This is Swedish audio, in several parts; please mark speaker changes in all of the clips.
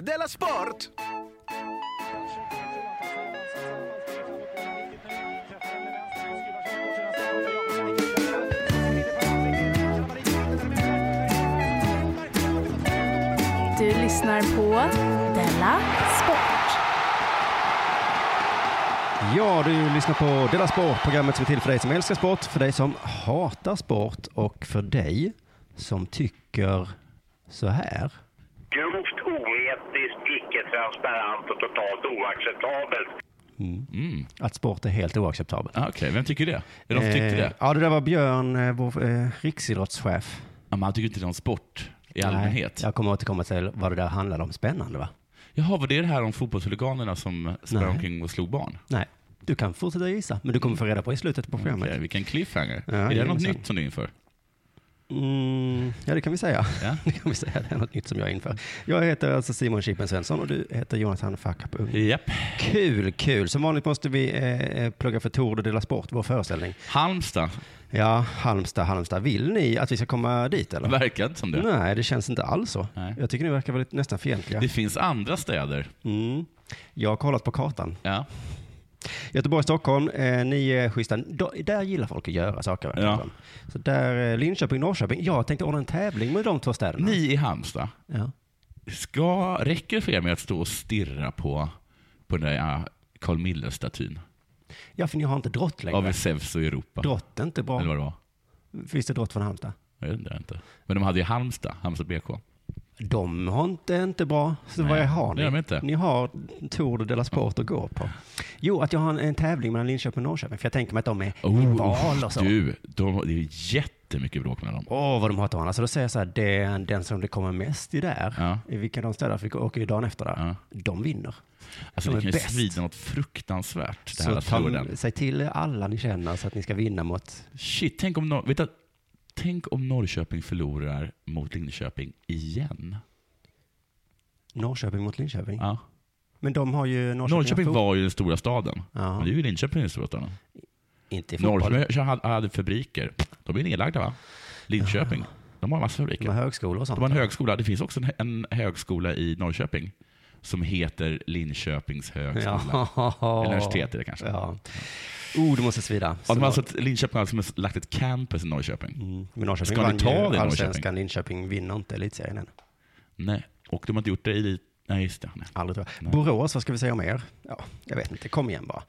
Speaker 1: Della Sport!
Speaker 2: Du lyssnar på Della Sport.
Speaker 3: Ja, du lyssnar på Della Sport, programmet som är till för dig som älskar sport, för dig som hatar sport och för dig som tycker så här.
Speaker 4: Grovt oetiskt, icke-transparent och totalt oacceptabelt.
Speaker 3: Att sport är helt oacceptabelt.
Speaker 5: Ah, Okej, vem tycker det? Är det någon som tyckte
Speaker 3: Eh,
Speaker 5: det?
Speaker 3: Ja, det där var Björn, eh, vår eh, riksidrottschef.
Speaker 5: Ja, man tycker inte det är någon sport i allmänhet.
Speaker 3: Nej, jag kommer återkomma till vad det där handlade om. Spännande va?
Speaker 5: Jaha, var det det här om fotbollshuliganerna som sprang
Speaker 3: Nej.
Speaker 5: omkring och slog barn?
Speaker 3: Nej, du kan fortsätta gissa, men du kommer få reda på i slutet på programmet.
Speaker 5: Okej, vilken cliffhanger.
Speaker 3: Ja,
Speaker 5: är det något
Speaker 3: jajamensan.
Speaker 5: nytt som du inför?
Speaker 3: Mm, ja, det kan vi säga.
Speaker 5: Ja.
Speaker 3: Det kan vi säga. Det är något nytt som jag inför. Jag heter alltså Simon Chippen Svensson och du heter Jonathan Fuckup Ung.
Speaker 5: Japp.
Speaker 3: Kul, kul. Som vanligt måste vi eh, plugga för Tord och Dela Sport, vår föreställning.
Speaker 5: Halmstad.
Speaker 3: Ja, Halmstad, Halmstad. Vill ni att vi ska komma dit eller?
Speaker 5: Verkar inte som det.
Speaker 3: Nej, det känns inte alls så.
Speaker 5: Nej.
Speaker 3: Jag tycker ni verkar vara lite, nästan fientliga.
Speaker 5: Det finns andra städer.
Speaker 3: Mm. Jag har kollat på kartan.
Speaker 5: Ja.
Speaker 3: Göteborg, Stockholm, eh, ni är schyssta. Då- Där gillar folk att göra saker. verkligen. Så där, eh, Linköping, Norrköping. Jag tänkte ordna en tävling med de två städerna.
Speaker 5: Ni i Halmstad,
Speaker 3: Ja.
Speaker 5: ska, räcker det för er med att stå och stirra på, på den där ja, Carl Miller-statyn
Speaker 3: Ja, för ni har inte drott längre.
Speaker 5: av Zeus och Europa?
Speaker 3: Drott är inte bra.
Speaker 5: Eller vad det var?
Speaker 3: Finns det drott från Halmstad?
Speaker 5: Jag vet inte, jag vet inte. Men de hade ju Halmstad, Halmstad BK.
Speaker 3: De har inte, inte bra. Så
Speaker 5: Nej,
Speaker 3: vad har
Speaker 5: det har de
Speaker 3: ni?
Speaker 5: inte.
Speaker 3: Ni har Tour de Dela Sport att gå på. Jo, att jag har en, en tävling mellan Linköping och Norrköping. För jag tänker mig att de är rival och så. Åh,
Speaker 5: Oh, du, de, det är jättemycket bråk mellan dem.
Speaker 3: vad de hatar varandra. Så då säger jag så här, den, den som det kommer mest i där,
Speaker 5: Ja.
Speaker 3: i vilka de städer, för vi åker ju dagen efter där,
Speaker 5: Ja.
Speaker 3: de vinner.
Speaker 5: Alltså,
Speaker 3: De
Speaker 5: det
Speaker 3: är
Speaker 5: kan ju
Speaker 3: bäst.
Speaker 5: svida något fruktansvärt, det här
Speaker 3: Så
Speaker 5: att ta
Speaker 3: ta, säg till alla ni känner så att ni ska vinna mot...
Speaker 5: Shit, tänk om, Nor- vet du, att- tänk om Norrköping förlorar mot Linköping igen.
Speaker 3: Norrköping mot Linköping.
Speaker 5: Ja.
Speaker 3: Men de har ju Norrköping...
Speaker 5: Norrköping
Speaker 3: fot-
Speaker 5: var ju den stora staden.
Speaker 3: Ja.
Speaker 5: Men det är ju Linköping den stora staden.
Speaker 3: Inte i fotboll.
Speaker 5: Norrköping hade- hade fabriker. De är nedlagda va? Linköping, de har en massa
Speaker 3: De
Speaker 5: fabriker.
Speaker 3: har högskolor och sånt.
Speaker 5: De har en högskola. Det finns också en, en högskola i Norrköping som heter Linköpings högskola.
Speaker 3: Ja.
Speaker 5: Universitet är det kanske.
Speaker 3: Ja. Oh, det måste svida.
Speaker 5: Ja, de
Speaker 3: Så-
Speaker 5: har alltså ett, Linköping har alltså lagt ett campus i Norrköping.
Speaker 3: Mm. Men Norrköping
Speaker 5: Ska ni
Speaker 3: vann
Speaker 5: ta det,
Speaker 3: ju
Speaker 5: Norrköping?
Speaker 3: allsvenskan. Linköping vinner inte elitserien än.
Speaker 5: Nej, och de har inte gjort det i... elit- Nej, just det. Nej.
Speaker 3: Aldrig tror jag.
Speaker 5: Nej.
Speaker 3: Borås, vad ska vi säga om er? Ja, jag vet inte. Kom igen bara.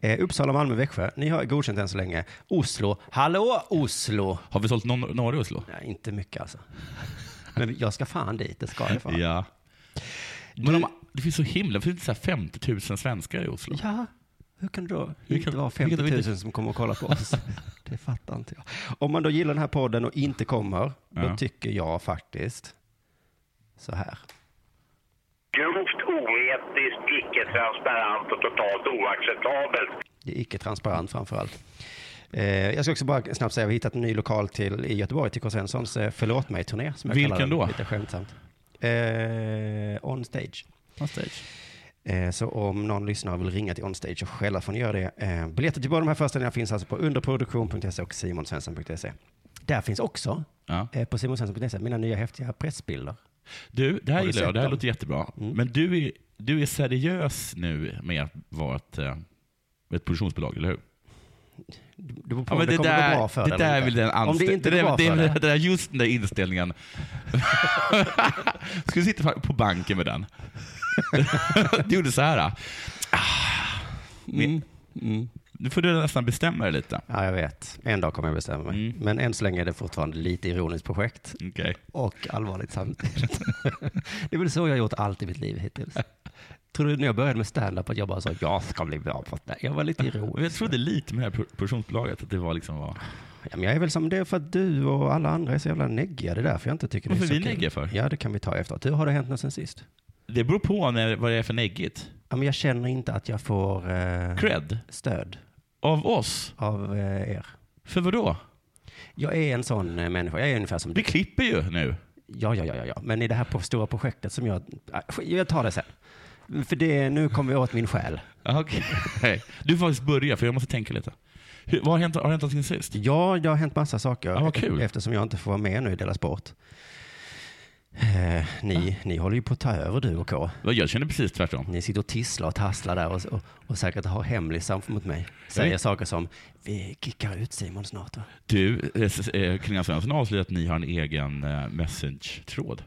Speaker 3: Eh, Uppsala, Malmö, Växjö. Ni har godkänt än så länge. Oslo. Hallå Oslo!
Speaker 5: Har vi sålt någon norra Oslo?
Speaker 3: Nej, inte mycket alltså. Men jag ska fan dit, det ska jag fan.
Speaker 5: Ja. Men de, det finns så himla... Det finns inte så här 50 000 svenskar i Oslo.
Speaker 3: Ja, hur kan det då
Speaker 5: Hur
Speaker 3: inte
Speaker 5: kan-
Speaker 3: vara
Speaker 5: hur kan det
Speaker 3: 50 000
Speaker 5: inte-
Speaker 3: som kommer och kollar på oss? Det fattar inte jag. Om man då gillar den här podden och inte kommer, då
Speaker 5: Ja.
Speaker 3: tycker jag faktiskt så här.
Speaker 4: Grovt oetiskt, icke-transparent och totalt oacceptabelt.
Speaker 3: Det är icke transparent framför allt. Eh, jag ska också bara snabbt säga, vi har hittat en ny lokal till, i Göteborg till K. Svenssons eh, Förlåt mig-turné. som jag
Speaker 5: Vilken
Speaker 3: kallar den,
Speaker 5: då?
Speaker 3: Lite skämtsamt. Eh, on stage.
Speaker 5: On stage.
Speaker 3: Eh, Så om någon lyssnare vill ringa till Onstage och skälla får ni göra det. Eh, Biljetter till båda de här föreställningarna finns alltså på underproduktion.se och simonsvensson.se. Där finns också,
Speaker 5: Ja.
Speaker 3: eh, på simonsvensson.se, mina nya häftiga pressbilder.
Speaker 5: Du, det här
Speaker 3: Har du
Speaker 5: gillar
Speaker 3: sett
Speaker 5: jag. Det här
Speaker 3: dem? Mm.
Speaker 5: låter jättebra. Men du är, du är seriös nu med att vara ett, eh, ett produktionsbolag, eller hur?
Speaker 3: Det beror på
Speaker 5: Ja,
Speaker 3: om
Speaker 5: men
Speaker 3: det,
Speaker 5: det,
Speaker 3: kommer gå bra
Speaker 5: där,
Speaker 3: för
Speaker 5: det
Speaker 3: dig
Speaker 5: där
Speaker 3: eller
Speaker 5: är väl den
Speaker 3: Om det
Speaker 5: anställ-
Speaker 3: inte går
Speaker 5: det där-
Speaker 3: bra
Speaker 5: det är
Speaker 3: för
Speaker 5: väl-
Speaker 3: dig.
Speaker 5: det där, just den där inställningen. Skulle sitta på banken med den. Du gjorde så här. ah. Men-
Speaker 3: Mm,
Speaker 5: Nu får du nästan bestämma dig lite.
Speaker 3: Ja, jag vet. En dag kommer jag bestämma mig.
Speaker 5: Mm.
Speaker 3: Men än så länge är det fortfarande lite ironiskt projekt
Speaker 5: Okej.
Speaker 3: och allvarligt samtidigt. det är väl så jag har gjort allt i mitt liv hittills. Tror du när jag började med stand-up att jag bara sa jag ska bli bra på det här"? Jag var lite ironisk.
Speaker 5: Men Jag trodde lite med det här produktionsbolaget att det var liksom var...
Speaker 3: Ja, men jag är väl som det är för att du och alla andra är så jävla neggiga. Det är därför jag inte tycker det är
Speaker 5: Varför
Speaker 3: så
Speaker 5: vi
Speaker 3: kul.
Speaker 5: neggiga för?
Speaker 3: Ja, det kan vi ta efteråt. Hur har det hänt något sen sist?
Speaker 5: Det beror på när, vad det är för neggigt.
Speaker 3: Ja, men jag känner inte att jag får eh,
Speaker 5: Cred?
Speaker 3: stöd
Speaker 5: Av oss?
Speaker 3: av eh, er.
Speaker 5: För vad då?
Speaker 3: Jag är en sån eh, människa. Jag är ungefär som du.
Speaker 5: Vi klipper ju nu.
Speaker 3: Ja, ja, ja, ja, ja. Men i det här på stora projektet som jag... Ah, sk- Jag tar det sen. För det, nu kommer vi åt min själ.
Speaker 5: Okej. Du får faktiskt börja, för jag måste tänka lite. Hur, vad har hänt, har det hänt någonting sist?
Speaker 3: Ja, det har hänt massa saker.
Speaker 5: Ja, vad kul.
Speaker 3: Eftersom jag inte får vara med nu i Dela Sport. Eh, ni, ni håller ju på att ta över du och K.
Speaker 5: Vad, Jag känner precis tvärtom.
Speaker 3: Ni sitter och tisslar och tasslar där och, och, och säkert har hemlisar mot mig. Säger
Speaker 5: Nej.
Speaker 3: saker som, vi kickar ut Simon snart va?
Speaker 5: Du, eh, s- eh, Klingan Svensson avslöjar att ni har en egen eh, message-tråd.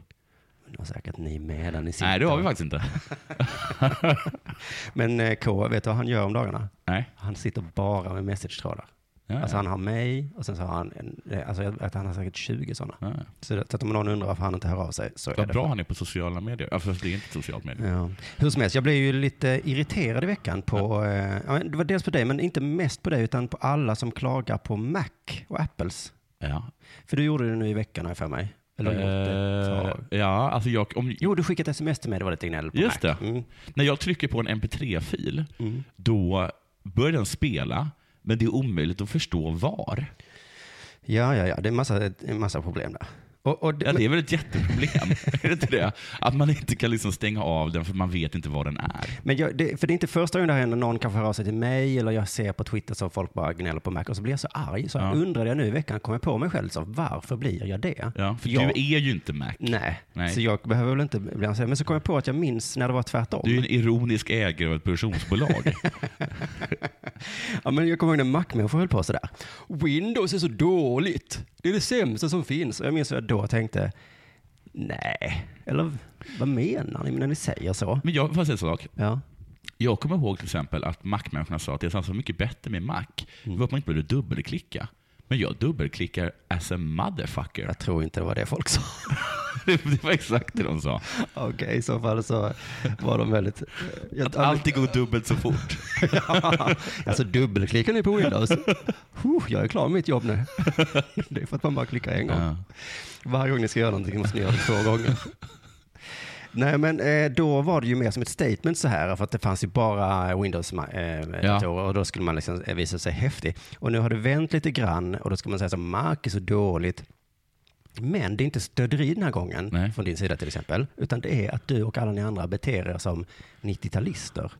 Speaker 3: Men Det har säkert ni med där ni sitter.
Speaker 5: Nej, det har vi faktiskt inte.
Speaker 3: Men eh, K, vet du vad han gör om dagarna?
Speaker 5: Nej.
Speaker 3: Han sitter bara med messagetrådar.
Speaker 5: Ja,
Speaker 3: Alltså han har mig och sen så har han, en, eh, alltså jag- att han har säkert 20 sådana.
Speaker 5: ja.
Speaker 3: Så, det, så att om någon undrar varför han inte hör av sig så är
Speaker 5: Vad
Speaker 3: det
Speaker 5: bra han är på sociala medier. Ja, fast det är inte sociala medier.
Speaker 3: Ja. Hur som helst, jag blev ju lite irriterad i veckan på, eh, ja, men det var dels på dig, men inte mest på dig, utan på alla som klagar på Mac och Apples.
Speaker 5: Ja.
Speaker 3: För du gjorde det nu i veckan har jag för mig. Eller har gjort det ett tag.
Speaker 5: Eh, ja, alltså jag, om,
Speaker 3: Jo, du skickade ett sms till mig, det var lite gnäll på
Speaker 5: Just
Speaker 3: Mac.
Speaker 5: det.
Speaker 3: Mm.
Speaker 5: när jag trycker på en mp3-fil, då börjar den spela, men det är omöjligt att förstå var.
Speaker 3: Ja, ja, ja, det är massa, en massa problem där. Och, och,
Speaker 5: Ja, det är väl ett jätteproblem? är det inte det? Att man inte kan liksom stänga av den för man vet inte var den är.
Speaker 3: Men jag, det, för det är inte första gången det händer, någon kanske hör av sig till mig eller jag ser på Twitter som folk bara gnäller på Mac och så blir jag så arg. Så
Speaker 5: Ja.
Speaker 3: undrar jag nu i veckan, kommer jag på mig själv, så varför blir jag det?
Speaker 5: Ja, för
Speaker 3: jag,
Speaker 5: du är ju inte Mac.
Speaker 3: Nej,
Speaker 5: Nej.
Speaker 3: så jag behöver väl inte bli anställd. Men så kom jag på att jag minns när det var tvärtom.
Speaker 5: Du är ju en ironisk ägare av ett produktionsbolag.
Speaker 3: Ja, men jag kommer ihåg när Mac-människor höll på sådär. Windows är så dåligt. Det är det sämsta som finns. Och jag minns att jag då tänkte, nej, eller vad menar ni när ni säger så?
Speaker 5: Men jag, får jag säga en sak?
Speaker 3: Ja,
Speaker 5: Jag kommer ihåg till exempel att Mac-människorna sa att det är så mycket bättre med Mac. Det var att man inte behövde dubbelklicka. Men jag dubbelklickar as a motherfucker.
Speaker 3: jag tror inte det var det folk sa.
Speaker 5: Det var exakt det de sa.
Speaker 3: Okej, i så fall så var de väldigt...
Speaker 5: Att alltid går dubbelt så fort.
Speaker 3: Ja, alltså dubbelklickar ni på Windows? Huh, jag är klar med mitt jobb nu. Det är för att man bara klickar en gång.
Speaker 5: Ja.
Speaker 3: Varje gång ni ska göra någonting måste ni göra det två gånger. Nej, men eh, då var det ju mer som ett statement så här, för att det fanns ju bara Windows-datorer
Speaker 5: Ja.
Speaker 3: och då skulle man liksom eh, visa sig häftig. Och nu har det vänt lite grann och då ska man säga så här, Mark är så dåligt. Men det är inte stöderi den här gången
Speaker 5: Nej.
Speaker 3: från din sida till exempel, utan det är att du och alla ni andra beter er som 90-talister.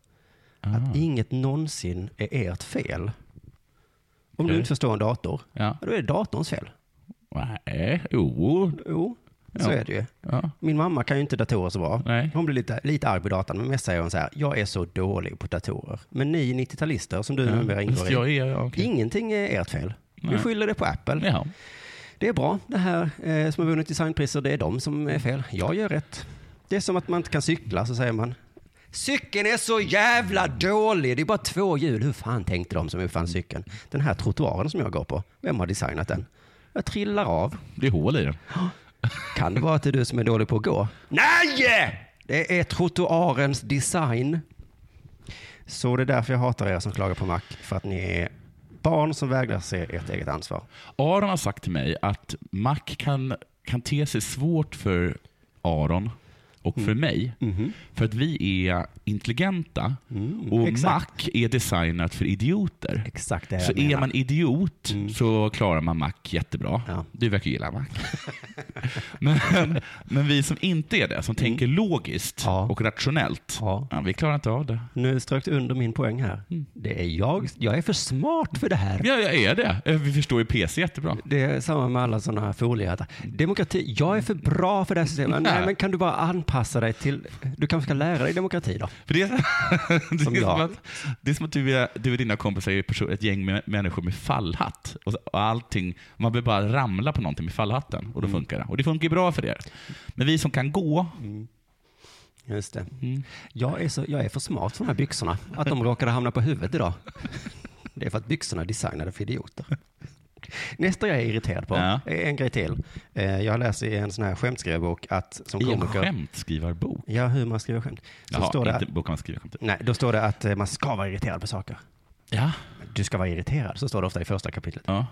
Speaker 5: Ah.
Speaker 3: Att inget någonsin är ert fel. Om du
Speaker 5: Okej.
Speaker 3: inte förstår en dator,
Speaker 5: Ja.
Speaker 3: ja, då är det datorns fel.
Speaker 5: Nej, jo.
Speaker 3: Jo, så
Speaker 5: Ja.
Speaker 3: är det ju.
Speaker 5: Ja.
Speaker 3: Min mamma kan ju inte datorer så bra.
Speaker 5: Nej.
Speaker 3: Hon blir lite, lite arg på datorn, men mest säger hon så här, jag är så dålig på datorer. Men ni 90-talister som du numera ingår i,
Speaker 5: Jag är, ja, okej.
Speaker 3: ingenting är ert fel. Du
Speaker 5: Nej.
Speaker 3: skyller det på Apple.
Speaker 5: Ja.
Speaker 3: Det är bra, det här eh, som har vunnit designpriser, det är de som är fel. Jag gör rätt. Det är som att man inte kan cykla, så säger man. Cykeln är så jävla dålig, det är bara två hjul. Hur fan tänkte de som uppfann cykeln? Den här trottoaren som jag går på, vem har designat den? Jag trillar av.
Speaker 5: Det är hål i den.
Speaker 3: Kan det vara att det är du som är dålig på att gå? Nej! Det är trottoarens design. Så det är därför jag hatar er som klagar på Mac, för att ni är barn som vägrar se ert eget ansvar.
Speaker 5: Aron har sagt till mig att Mac kan, kan te sig svårt för Aron och för
Speaker 3: Mm.
Speaker 5: mig.
Speaker 3: Mm-hmm.
Speaker 5: För att vi är intelligenta och
Speaker 3: Mm. exakt.
Speaker 5: Mac är designat för idioter.
Speaker 3: Exakt det
Speaker 5: Så är man idiot så klarar man Mac jättebra.
Speaker 3: Mm. Ja.
Speaker 5: Du verkar gilla Mac. men, men vi som inte är det, som tänker logiskt
Speaker 3: Mm. Ja.
Speaker 5: och rationellt,
Speaker 3: Ja.
Speaker 5: vi klarar inte av det.
Speaker 3: Nu strök du under min poäng här.
Speaker 5: Mm.
Speaker 3: Det är jag. Jag är för smart för det här.
Speaker 5: Ja, jag är det. Eh, Vi förstår ju PC jättebra.
Speaker 3: Det är samma med alla sådana här foliehattar. Demokrati. Jag är för bra för det här systemet. Nej, men kan du bara anpassa dig till... Du kanske ska lära dig demokrati då?
Speaker 5: För det, är, det,
Speaker 3: Som
Speaker 5: är som
Speaker 3: jag.
Speaker 5: att, det är som att du, är, du och dina kompisar är perso- ett gäng med människor med fallhatt. Och, så- och allting, man behöver bara ramla på någonting med fallhatten
Speaker 3: Mm.
Speaker 5: och då funkar det. Och det funkar ju bra för er. Men vi som kan gå,
Speaker 3: Mm, Just det.
Speaker 5: Mm.
Speaker 3: Jag, är så, jag är för smart för de här byxorna. Att de råkade hamna på huvudet idag. Det är för att byxorna är designade för idioter. Nästa jag är irriterad på,
Speaker 5: Ja.
Speaker 3: är en grej till. Eh, Jag läser i en sån här skämtskrivarbok att som
Speaker 5: i en
Speaker 3: komiker...
Speaker 5: skämtskrivarbok.
Speaker 3: Ja, hur man skriver skämt. Så
Speaker 5: Jaha,
Speaker 3: står det att,
Speaker 5: inte bok man skriver skämt.
Speaker 3: nej, då står det att eh, man ska vara irriterad på saker.
Speaker 5: Ja.
Speaker 3: Du ska vara irriterad, så står det ofta i första kapitlet.
Speaker 5: ja.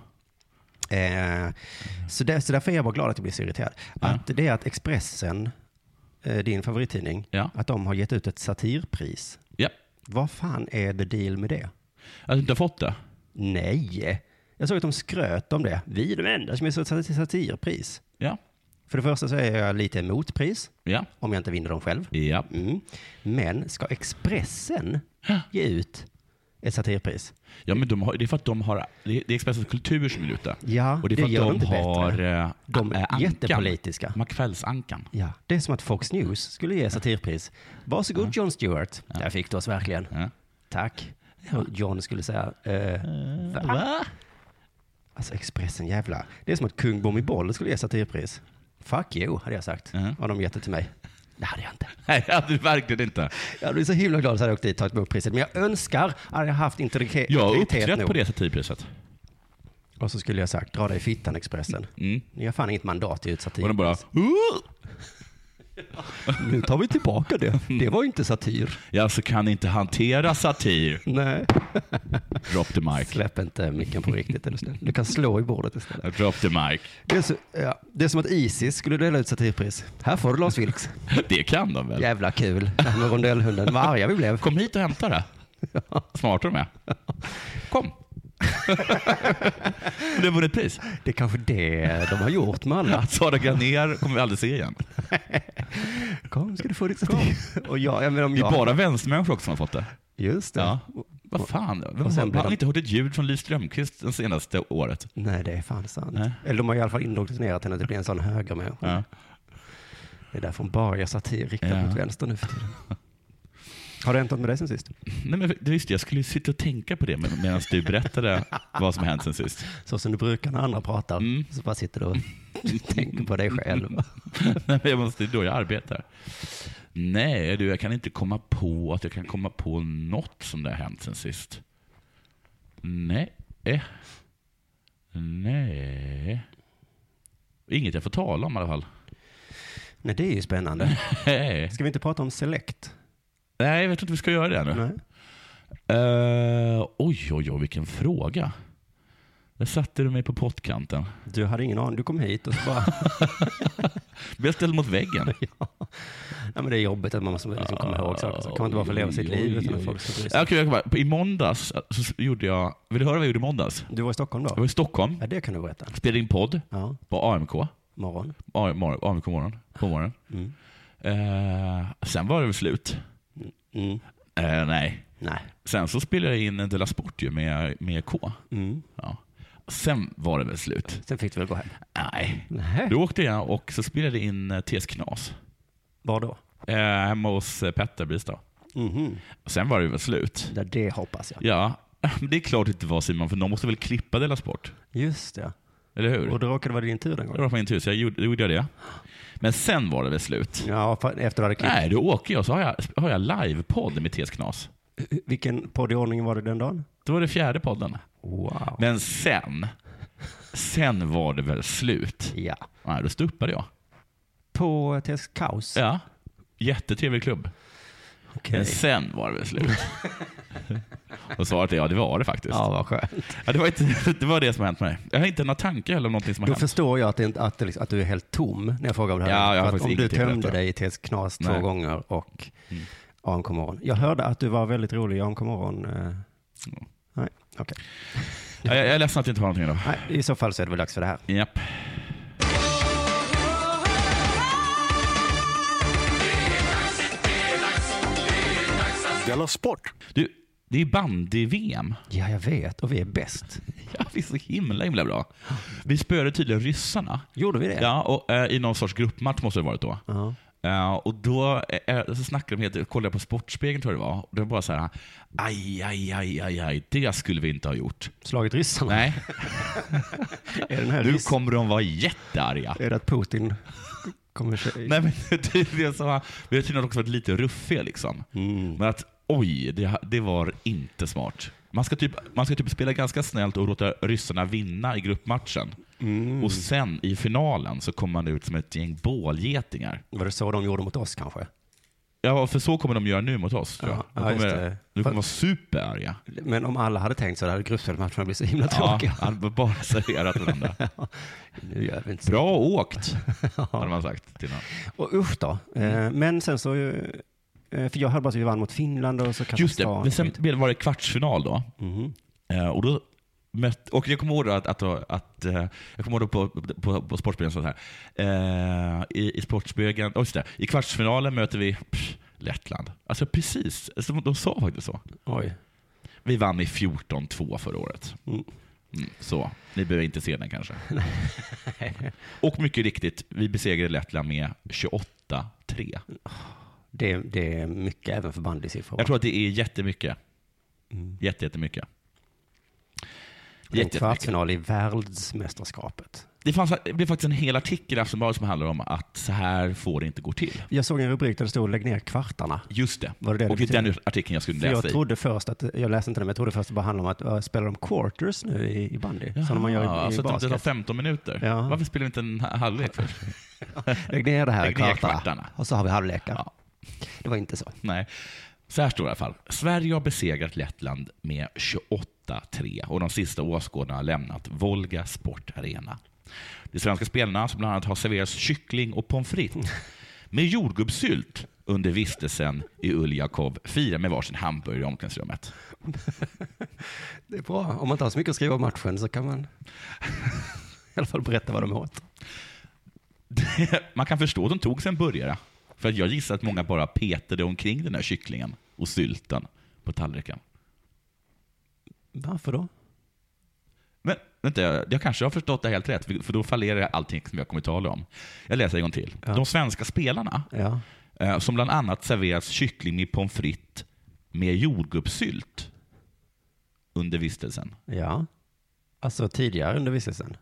Speaker 3: Eh, så, där, så därför är jag bara glad att jag blir så irriterad. Att det är att Expressen, eh, din favorittidning,
Speaker 5: Ja.
Speaker 3: att de har gett ut ett satirpris.
Speaker 5: ja.
Speaker 3: Vad fan är the deal med det?
Speaker 5: Att du inte har fått det?
Speaker 3: Nej, jag såg att de skröt om det. Vi är de enda som är så sat- satirpris.
Speaker 5: Ja.
Speaker 3: För det första så är jag lite emot pris,
Speaker 5: Ja.
Speaker 3: om Mm. jag inte vinner dem själv.
Speaker 5: Ja.
Speaker 3: Mm. Men ska Expressen ge ut ett satirpris.
Speaker 5: Ja, men de har, det är för att de har, det är det är Expressens kultur som är ute.
Speaker 3: Ja,
Speaker 5: och det är
Speaker 3: det
Speaker 5: för att
Speaker 3: gör
Speaker 5: de
Speaker 3: de inte
Speaker 5: har
Speaker 3: bättre.
Speaker 5: eh,
Speaker 3: De är
Speaker 5: eh, Ankan.
Speaker 3: jättepolitiska.
Speaker 5: Makvällsankan.
Speaker 3: Ja, det är som att Fox News skulle ge satirpris. Varsågod John Stewart. Där fick du oss verkligen.
Speaker 5: Ja.
Speaker 3: Tack. Och John skulle säga, eh,
Speaker 5: Va?
Speaker 3: alltså Expressen jävla. Det är som att kung Bommiboll skulle ge satirpris. Fuck you, hade jag sagt.
Speaker 5: Mm.
Speaker 3: Har de gett det till mig? Det hade jag inte.
Speaker 5: Nej, det hade du verkligen inte.
Speaker 3: Jag blir så himla glad att jag hade åkt dit och tagit emot priset. Men jag önskar att jag haft integritet
Speaker 5: Jag har
Speaker 3: integritet
Speaker 5: uppträtt
Speaker 3: nog.
Speaker 5: på det satirpriset.
Speaker 3: Och så skulle jag sagt, dra dig i fittan Expressen.
Speaker 5: Mm.
Speaker 3: Ni har fan inget mandat i utsatt
Speaker 5: Och de bara...
Speaker 3: Nu tar vi tillbaka det. Det var ju inte satir.
Speaker 5: Jag så kan inte hantera satir.
Speaker 3: Nej.
Speaker 5: Drop the mic.
Speaker 3: Släpp inte micken på riktigt, eller snäll. Du kan slå i bordet istället.
Speaker 5: Drop the mic.
Speaker 3: Det är, så, ja, det är som att Isis skulle dela ut satirpris. Här får du Lars Vilks.
Speaker 5: Det kan de väl?
Speaker 3: Jävla kul. Det här med rondellhunden. Vad arga vi blev.
Speaker 5: Kom hit och hämta det. Smarta de är. Kom. Men det vore ett pris.
Speaker 3: Det är kanske det de har gjort med alla.
Speaker 5: Sara Granér kommer vi aldrig se igen.
Speaker 3: Kom, ska du få ditt satir. Och jag, jag menar om
Speaker 5: Det är
Speaker 3: jag...
Speaker 5: bara vänstermänniskor också som har fått det.
Speaker 3: Just det.
Speaker 5: Ja. Vad fan, vem
Speaker 3: och sen
Speaker 5: har,
Speaker 3: blir
Speaker 5: man har
Speaker 3: de-
Speaker 5: inte hört ett ljud från Liv Strömquist det senaste året.
Speaker 3: Nej, det är fan sant.
Speaker 5: Nej.
Speaker 3: Eller de har i alla fall indoktrinerat henne till att bli en sån högermänniska.
Speaker 5: Ja.
Speaker 3: Det är därför hon bara gör satir riktad
Speaker 5: Ja.
Speaker 3: mot vänster nu för tiden. Har det hänt något med dig sen sist?
Speaker 5: Nej, men det visste jag. jag skulle sitta och tänka på det med- medan du berättade vad som har hänt sen sist.
Speaker 3: Så som du brukar när andra pratar,
Speaker 5: Mm.
Speaker 3: så bara sitter du och tänker på dig själv.
Speaker 5: Nej, men jag måste, det är då jag arbetar. Nej, du, jag kan inte komma på att jag kan komma på något som det har hänt sen sist. Nej. Nej. Inget jag får tala om i alla fall.
Speaker 3: Nej, det är ju spännande.
Speaker 5: Nej,
Speaker 3: Ska vi inte prata om Select?
Speaker 5: Nej, jag vet inte vi ska göra det nu.
Speaker 3: Nej.
Speaker 5: Eh, oj, oj, oj, vilken fråga. Där satte du mig på pottkanten.
Speaker 3: Du hade ingen aning, du kom hit och så bara...
Speaker 5: Blev ställd mot väggen.
Speaker 3: Nej, men det är jobbigt att man måste liksom komma ihåg saker. Så kan man inte bara få leva sitt liv utan att folk ska bry
Speaker 5: Ja,
Speaker 3: sig.
Speaker 5: Okej, jag kan bara- I måndags eh, så gjorde jag... Vill du höra vad jag gjorde i måndags?
Speaker 3: Du var i Stockholm
Speaker 5: Jag var
Speaker 3: då?
Speaker 5: i Stockholm,
Speaker 3: Ja, det kan du berätta.
Speaker 5: spelade in podd
Speaker 3: Ja,
Speaker 5: på AMK.
Speaker 3: morgon.
Speaker 5: A- mor- AMK morgon. På morgonen.
Speaker 3: Mm.
Speaker 5: Eh, sen var det väl slut.
Speaker 3: Mm.
Speaker 5: Eh, nej.
Speaker 3: Nej.
Speaker 5: Sen så spelade jag in en Della Sport ju med, med K.
Speaker 3: Mm.
Speaker 5: Ja. Sen var det väl slut.
Speaker 3: Sen fick du väl gå hem?
Speaker 5: Nej.
Speaker 3: Nej.
Speaker 5: Då åkte jag och så spelade jag in eh, TS Knas.
Speaker 3: Var då?
Speaker 5: Eh, hemma hos eh, Petter Bristad.
Speaker 3: Mhm.
Speaker 5: Sen var det väl slut.
Speaker 3: Ja, det hoppas jag.
Speaker 5: Ja, men det är klart det inte var Simon, för de måste väl klippa Della Sport?
Speaker 3: Just det.
Speaker 5: Eller hur?
Speaker 3: Och det råkade vara din tur den
Speaker 5: Det
Speaker 3: gången?
Speaker 5: var på min tur, så jag gjorde, då gjorde jag det. Men sen var det väl slut.
Speaker 3: Ja, för- efter du hade klippt.
Speaker 5: Nej, då åker jag så har jag, har jag livepodd med TS Knas.
Speaker 3: Vilken podd i ordningen var det den dagen?
Speaker 5: Det var det fjärde podden.
Speaker 3: Wow.
Speaker 5: Men sen, sen var det väl slut.
Speaker 3: Ja.
Speaker 5: Nej, då stuppade jag.
Speaker 3: På TS Kaos?
Speaker 5: Ja, jättetrevlig klubb.
Speaker 3: Okej.
Speaker 5: Men sen var det väl slut. Och svaret är ja, det var det faktiskt.
Speaker 3: Ja,
Speaker 5: Ja.
Speaker 3: vad skönt.
Speaker 5: det, var inte, det var det som har hänt mig. Jag har inte några tankar heller om någonting som har
Speaker 3: Då
Speaker 5: hänt.
Speaker 3: förstår jag att, det, inte- att, det liksom, att du är helt tom när jag frågar om det här.
Speaker 5: Ja, jag har
Speaker 3: För att
Speaker 5: faktiskt
Speaker 3: om du
Speaker 5: ingenting att
Speaker 3: tömde
Speaker 5: berätta.
Speaker 3: dig i TS Knas två
Speaker 5: Nej. Mm.
Speaker 3: gånger och AMK Morgon. Jag hörde att du var väldigt rolig i AMK Morgon. eh.
Speaker 5: Mm.
Speaker 3: Nej, okej.
Speaker 5: Ja, Jag, jag är ledsen att jag inte har någonting idag.
Speaker 3: Nej, I så fall så är det väl dags för det här.
Speaker 5: Japp.
Speaker 1: Della Sport!
Speaker 5: Du, det är bandy-VM.
Speaker 3: Ja, jag vet. Och vi är bäst.
Speaker 5: Ja, vi är så himla, himla bra. Vi spöade tydligen ryssarna.
Speaker 3: Gjorde vi det?
Speaker 5: Ja, och, eh, I någon sorts gruppmatch måste det ha varit då.
Speaker 3: Ja.
Speaker 5: Eh, och då eh, så snackade de, helt- kollade jag på Sportspegeln tror jag det var, och det var bara så här, aj, aj, aj, aj, aj, det skulle vi inte ha gjort.
Speaker 3: Slaget ryssarna.
Speaker 5: Nej,
Speaker 3: Är, den här
Speaker 5: nu
Speaker 3: ryss-
Speaker 5: kommer de vara jättearga.
Speaker 3: är det att Putin kommer...
Speaker 5: Nej, men tydligen så har, vi har tydligen också varit lite ruffiga liksom.
Speaker 3: Mm.
Speaker 5: Men att, oj, det, ha- det var inte smart. Man ska, typ, man ska typ spela ganska snällt och låta ryssarna vinna i gruppmatchen.
Speaker 3: Mm.
Speaker 5: Och sen i finalen så kommer man ut som ett gäng bålgetingar.
Speaker 3: Var det så de gjorde mot oss kanske?
Speaker 5: Ja, för så kommer de göra nu mot oss. Tror jag.
Speaker 3: Ja,
Speaker 5: de
Speaker 3: ja,
Speaker 5: kommer,
Speaker 3: just det.
Speaker 5: de kommer
Speaker 3: Fast-
Speaker 5: vara superarga.
Speaker 3: Men om alla hade tänkt så hade gruppspelsmatcherna blivit så himla
Speaker 5: Ja,
Speaker 3: tråkiga.
Speaker 5: han var bara serverat varandra.
Speaker 3: Nu gör vi inte så.
Speaker 5: Bra åkt, hade man sagt till honom.
Speaker 3: Och usch då. Eh,
Speaker 5: Mm.
Speaker 3: Men sen så... eh, För jag hörde bara att vi vann mot Finland och så
Speaker 5: Just det,
Speaker 3: Kazakstan.
Speaker 5: men sen blev- var det kvartsfinal då.
Speaker 3: Mhm.
Speaker 5: Eh, Och då mött, och jag kommer ihåg då att, att, att eh, jag kommer ihåg då på, på, på Sportspegeln så här. Eh, I, i Sportspegeln, oh, just det, i kvartsfinalen möter vi pff, Lettland. Alltså precis, alltså, de sa faktiskt så.
Speaker 3: Oj.
Speaker 5: Vi vann i 14-2 förra året. Mm, så, ni behöver inte se den kanske. Och mycket riktigt, vi besegrade Lettland med 28-3.
Speaker 3: Det, det är mycket även för bandysiffror.
Speaker 5: Jag tror att det är jättemycket. Jätte, jättemycket.
Speaker 3: en
Speaker 5: Jätte, jättemycket.
Speaker 3: kvartsfinal i världsmästerskapet.
Speaker 5: Det, fanns, det blev faktiskt en hel artikel i Aftonbladet som handlar om att så här får det inte gå till.
Speaker 3: Jag såg en rubrik där det stod lägg ner kvartarna.
Speaker 5: Just det.
Speaker 3: Var det det
Speaker 5: Och
Speaker 3: det
Speaker 5: det är den
Speaker 3: betyder?
Speaker 5: artikeln jag skulle
Speaker 3: För
Speaker 5: läsa
Speaker 3: jag trodde först att, jag läste inte det, men jag trodde först att det bara handlade om att äh, spelar de quarters nu i, i bandy?
Speaker 5: i.
Speaker 3: som man gör i, i
Speaker 5: Jaha, så att det tar
Speaker 3: basket.
Speaker 5: 15 minuter.
Speaker 3: Ja.
Speaker 5: Varför spelar vi inte en ha- halvlek först?
Speaker 3: Lägg ner det här i
Speaker 5: Lägg ner
Speaker 3: kvartarna.
Speaker 5: kvartarna.
Speaker 3: Och så har vi halvlekar.
Speaker 5: Ja.
Speaker 3: Det var inte så.
Speaker 5: Nej. Så här står det i alla fall. Sverige har besegrat Lettland med 28-3 och de sista åskådarna har lämnat Volga Sport Arena. De svenska spelarna, som bland annat har serverats kyckling och pommes frites med jordgubbssylt under vistelsen i Uljakov, firar med varsin hamburgare i omklädningsrummet.
Speaker 3: Det är bra. Om man inte har så mycket att skriva om matchen så kan man i alla fall berätta vad de åt.
Speaker 5: Man kan förstå att de tog sig en burgare. För att jag gissar att många bara petade omkring den här kycklingen och sylten på tallriken.
Speaker 3: Varför då?
Speaker 5: Men vänta, jag jag kanske har förstått det helt rätt, för då fallerar allting som jag kommer tala om. Jag läser en gång till. De svenska spelarna,
Speaker 3: Ja.
Speaker 5: eh, som bland annat serveras kyckling i pommes frites med jordgubbssylt under vistelsen.
Speaker 3: Ja. Alltså tidigare under vistelsen.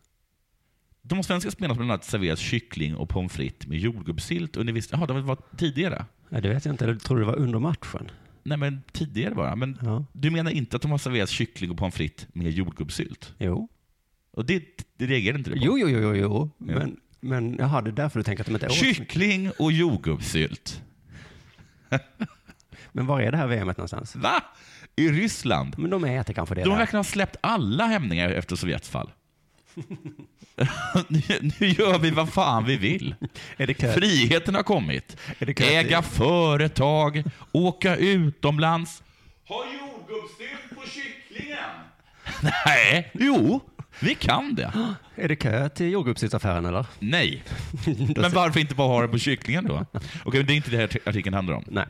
Speaker 5: De svenska spelarna som bland annat serveras kyckling och pommes frites med jordgubbssylt under vistelsen. Jaha, det var tidigare?
Speaker 3: Nej, det vet jag inte. Jag trodde det var under matchen.
Speaker 5: Nej, men tidigare bara. Men
Speaker 3: Ja.
Speaker 5: du menar inte att de har serverats kyckling och pommes frites med jordgubbssylt?
Speaker 3: Jo.
Speaker 5: Och det, det reagerar inte du på?
Speaker 3: Jo, jo, jo, jo, jo. Men, men jaha, det är därför du tänker att de inte åt.
Speaker 5: Kyckling och jordgubbssylt.
Speaker 3: Men var är det här VMet någonstans?
Speaker 5: Va? I Ryssland?
Speaker 3: Men de äter kanske det
Speaker 5: De
Speaker 3: där.
Speaker 5: verkar ha släppt alla hämningar efter Sovjets fall. nu, nu gör vi vad fan vi vill.
Speaker 3: Är det kö?
Speaker 5: Friheten har kommit.
Speaker 3: Är det kö till-
Speaker 5: Äga företag, åka utomlands. Ha jordgubbssylt på kycklingen! Nej, jo, vi kan det.
Speaker 3: Är det kö till jordgubbssyftsaffären eller?
Speaker 5: Nej. Men varför inte bara ha det på kycklingen då? Okej, men det är inte det här artikeln handlar om.
Speaker 3: Nej.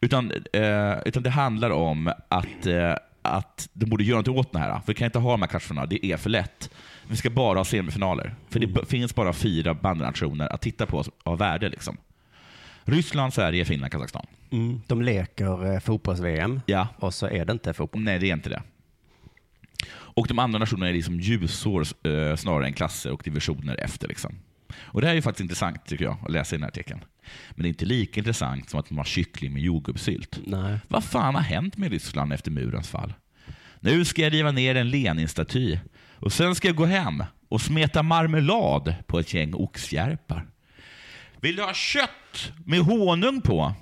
Speaker 5: Utan, eh, utan det handlar om att, eh, att de borde göra något åt det här. För vi kan inte ha de här kvartsfinalerna, det är för lätt. Vi ska bara ha semifinaler. För det b- finns bara fyra bandnationer att titta på som- av värde. Liksom. Ryssland, Sverige, Finland, Kazakstan.
Speaker 3: Mm. De leker eh, fotbolls-VM
Speaker 5: Ja.
Speaker 3: och så är det inte fotboll.
Speaker 5: Nej, det är inte det. Och de andra nationerna är liksom ljusår eh, snarare än klasser och divisioner efter. Liksom. Och Det här är ju faktiskt intressant tycker jag, att läsa i den här artikeln. Men det är inte lika intressant som att man har kyckling med jordgubbssylt.
Speaker 3: Nej.
Speaker 5: Vad fan har hänt med Ryssland efter murens fall? Nu ska jag riva ner en Lenin-staty och sen ska jag gå hem och smeta marmelad på ett gäng oxjärpar. Vill du ha kött med honung på?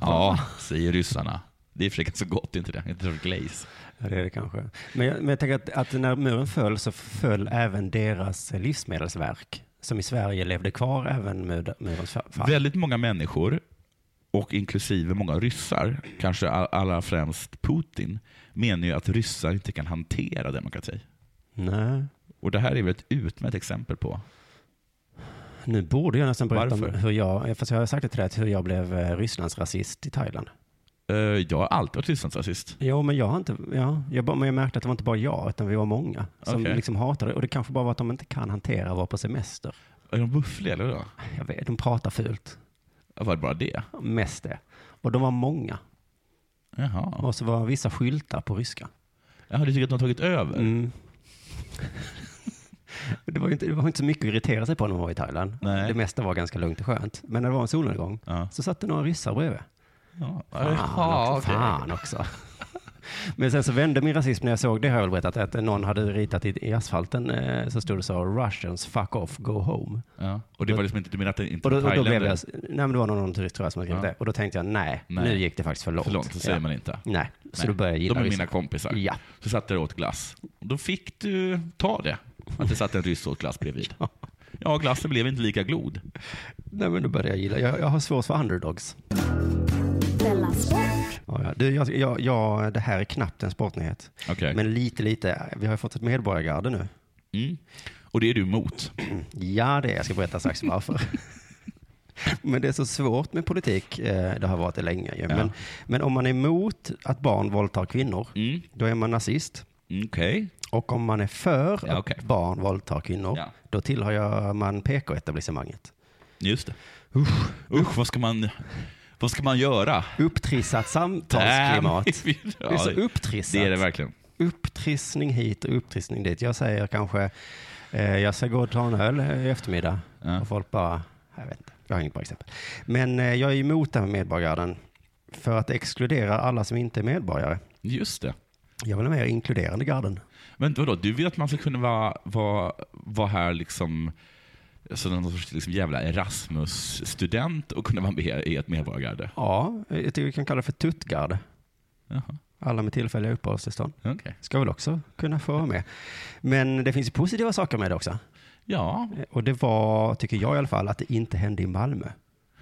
Speaker 5: Ja, säger ryssarna. Det är för ganska gott, inte det? Inte för glaze.
Speaker 3: Ja, det är det kanske. Men jag, men jag tänker att, att när muren föll så föll även deras livsmedelsverk som i Sverige levde kvar även mur, murens fa- fall.
Speaker 5: Väldigt många människor, och inklusive många ryssar, kanske all- allra främst Putin, menar ju att ryssar inte kan hantera demokrati.
Speaker 3: Nej.
Speaker 5: Och det här är väl ett utmärkt exempel på
Speaker 3: Nu borde jag nästan berätta om
Speaker 5: Varför?
Speaker 3: hur jag, fast jag har sagt det till dig, att hur jag blev eh, Rysslands rasist i Thailand.
Speaker 5: Eh, jag har alltid varit Rysslandsrasist.
Speaker 3: Jo, men jag har inte, ja, jag, bara- men jag märkte att det var inte bara jag, utan vi var många som
Speaker 5: Okej.
Speaker 3: liksom hatade det. Och det kanske bara var att de inte kan hantera att vara på semester.
Speaker 5: Är de buffliga eller då?
Speaker 3: Jag vet, de pratar fult,
Speaker 5: Var det bara det?
Speaker 3: mest det. Och de var många.
Speaker 5: Jaha.
Speaker 3: Och så var vissa skyltar på ryska.
Speaker 5: Jaha, du tycker att de har tagit över?
Speaker 3: Mm. Det var ju inte, det var inte så mycket att irritera sig på när man var i Thailand.
Speaker 5: Nej.
Speaker 3: Det mesta var ganska lugnt och skönt. Men när det var en solnedgång
Speaker 5: Ja.
Speaker 3: så satt det några ryssar bredvid.
Speaker 5: Ja.
Speaker 3: Fan,
Speaker 5: Jaha,
Speaker 3: också,
Speaker 5: okej.
Speaker 3: fan också. Men sen så vände min rasism när jag såg det, har jag väl berättat, att någon hade ritat i, i asfalten eh, så stod det så Russians fuck off, go home.
Speaker 5: Ja. Och det var liksom inte, du menar att det inte
Speaker 3: Och då,
Speaker 5: var
Speaker 3: och då blev
Speaker 5: thailändare?
Speaker 3: jag, nej men det var någon, någon turist tror jag som hade skrivit
Speaker 5: Ja.
Speaker 3: det. Och då tänkte jag nej,
Speaker 5: Nej.
Speaker 3: nu gick det faktiskt för långt.
Speaker 5: För långt, så säger
Speaker 3: ja.
Speaker 5: man inte.
Speaker 3: Nej, så
Speaker 5: Nej.
Speaker 3: då började jag gilla
Speaker 5: De är
Speaker 3: ryssar.
Speaker 5: mina kompisar.
Speaker 3: Ja.
Speaker 5: Så satt jag och åt glass. Och då fick du ta det, att det satt en ryss och åt glass bredvid. Ja, glassen blev inte lika glod.
Speaker 3: Nej men då började jag gilla, jag, jag har svårt för underdogs.
Speaker 2: Della Sport.
Speaker 3: Ja, ja. Du, jag, jag, jag, det här är knappt en sportnyhet.
Speaker 5: Okej.
Speaker 3: Men lite, lite. Vi har ju fått ett medborgargarde nu.
Speaker 5: Mm. Och det är du emot.
Speaker 3: Ja, det är jag. ska berätta strax varför. Men det är så svårt med politik. eh, Det har varit det länge ju. Men, men om man är emot att barn våldtar kvinnor, då är man nazist.
Speaker 5: Mm, Okej.
Speaker 3: Och om man är för
Speaker 5: Ja, okej.
Speaker 3: att barn våldtar kvinnor,
Speaker 5: Ja.
Speaker 3: då tillhör jag- man PK-etablissemanget.
Speaker 5: Just det. Usch, Usch vad, ska man, vad ska man göra?
Speaker 3: Upptrissat samtalsklimat.
Speaker 5: Damn.
Speaker 3: Det är så upptrissat.
Speaker 5: Det är det verkligen.
Speaker 3: Upptrissning hit och upptrissning dit. Jag säger kanske, eh, jag ska gå och ta en öl eh, i eftermiddag.
Speaker 5: Ja.
Speaker 3: Och folk bara, jag vet inte, jag har inget bra exempel. Men eh, jag är emot det här med medborgargarden. För att exkludera alla som inte är medborgare.
Speaker 5: Just det.
Speaker 3: Jag vill ha mer inkluderande garden.
Speaker 5: Men vadå, du vill att man ska kunna vara, vara, vara här liksom så någon sorts liksom jävla Erasmus-student och kunna vara med i ett medborgargarde?
Speaker 3: Ja, jag tycker vi kan kalla det för tuttgard.
Speaker 5: Jaha,
Speaker 3: Alla med tillfälliga uppehållstillstånd.
Speaker 5: okej.
Speaker 3: Ska väl också kunna få vara med. Men det finns ju positiva saker med det också.
Speaker 5: Ja,
Speaker 3: Och det var, tycker jag i alla fall, att det inte hände i Malmö.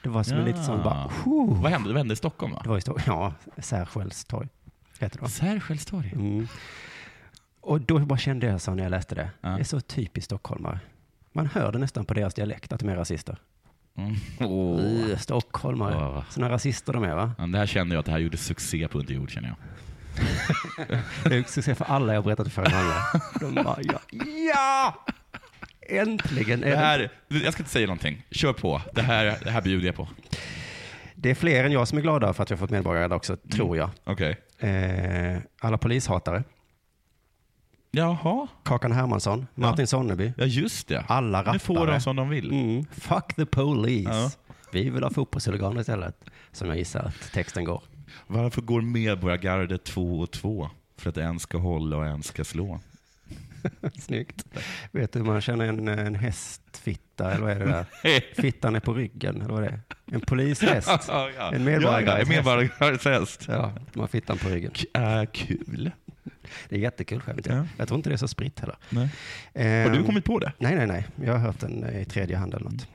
Speaker 3: Det var som en
Speaker 5: Ja.
Speaker 3: lite sån bara, "Whew."
Speaker 5: vad hände? Vad hände i Stockholm
Speaker 3: Det
Speaker 5: va?
Speaker 3: var ju stor, ja, Särskäls torg heter det va?
Speaker 5: Särskäls torg.
Speaker 3: mm. Och då bara kände jag så när jag läste det.
Speaker 5: Ja.
Speaker 3: Det är så typiskt stockholmare. Man hör det nästan på deras dialekt att de är rasister.
Speaker 5: Mm. Åh.
Speaker 3: Ugh, Stockholmare.
Speaker 5: Ja.
Speaker 3: Sådana rasister de är va?
Speaker 5: Ja, Det här känner jag att det här gjorde succé på Under jord känner jag.
Speaker 3: Det är succé för alla jag berättat för alla. De bara, ja, ja! Äntligen! Är
Speaker 5: Det
Speaker 3: det,
Speaker 5: här, jag ska inte säga någonting. Kör på. Det här, det här bjuder jag på.
Speaker 3: det är fler än jag som är glada för att jag fått medborgare också, tror jag.
Speaker 5: Okej. Mm.
Speaker 3: Eh, alla polishatare.
Speaker 5: Jaha,
Speaker 3: Kakan Hermansson, Martin Sonneby,
Speaker 5: ja just det.
Speaker 3: alla rappare.
Speaker 5: nu får de som de vill.
Speaker 3: Mm. Fuck the police.
Speaker 5: Ja.
Speaker 3: Vi vill ha fotbollshuliganer istället. Som jag gissar att texten går.
Speaker 5: Varför går medborgargardet två och två? För att en ska hålla och en ska slå.
Speaker 3: Snyggt. Vet du, man känner en, en hästfitta, eller vad är det där? Fittan är på ryggen, eller vad är det En polishäst.
Speaker 5: Ja, ja.
Speaker 3: En medborgare-
Speaker 5: Ja, ja, en medborgargardet
Speaker 3: Ja, man har fittan på ryggen.
Speaker 5: Äh, kul.
Speaker 3: Det är jättekul skämt.
Speaker 5: Ja.
Speaker 3: Jag tror inte det är så spritt heller.
Speaker 5: Nej. Har du
Speaker 3: Ehm,
Speaker 5: kommit på det?
Speaker 3: Nej, nej, nej. Jag har hört den eh, i tredje hand eller något.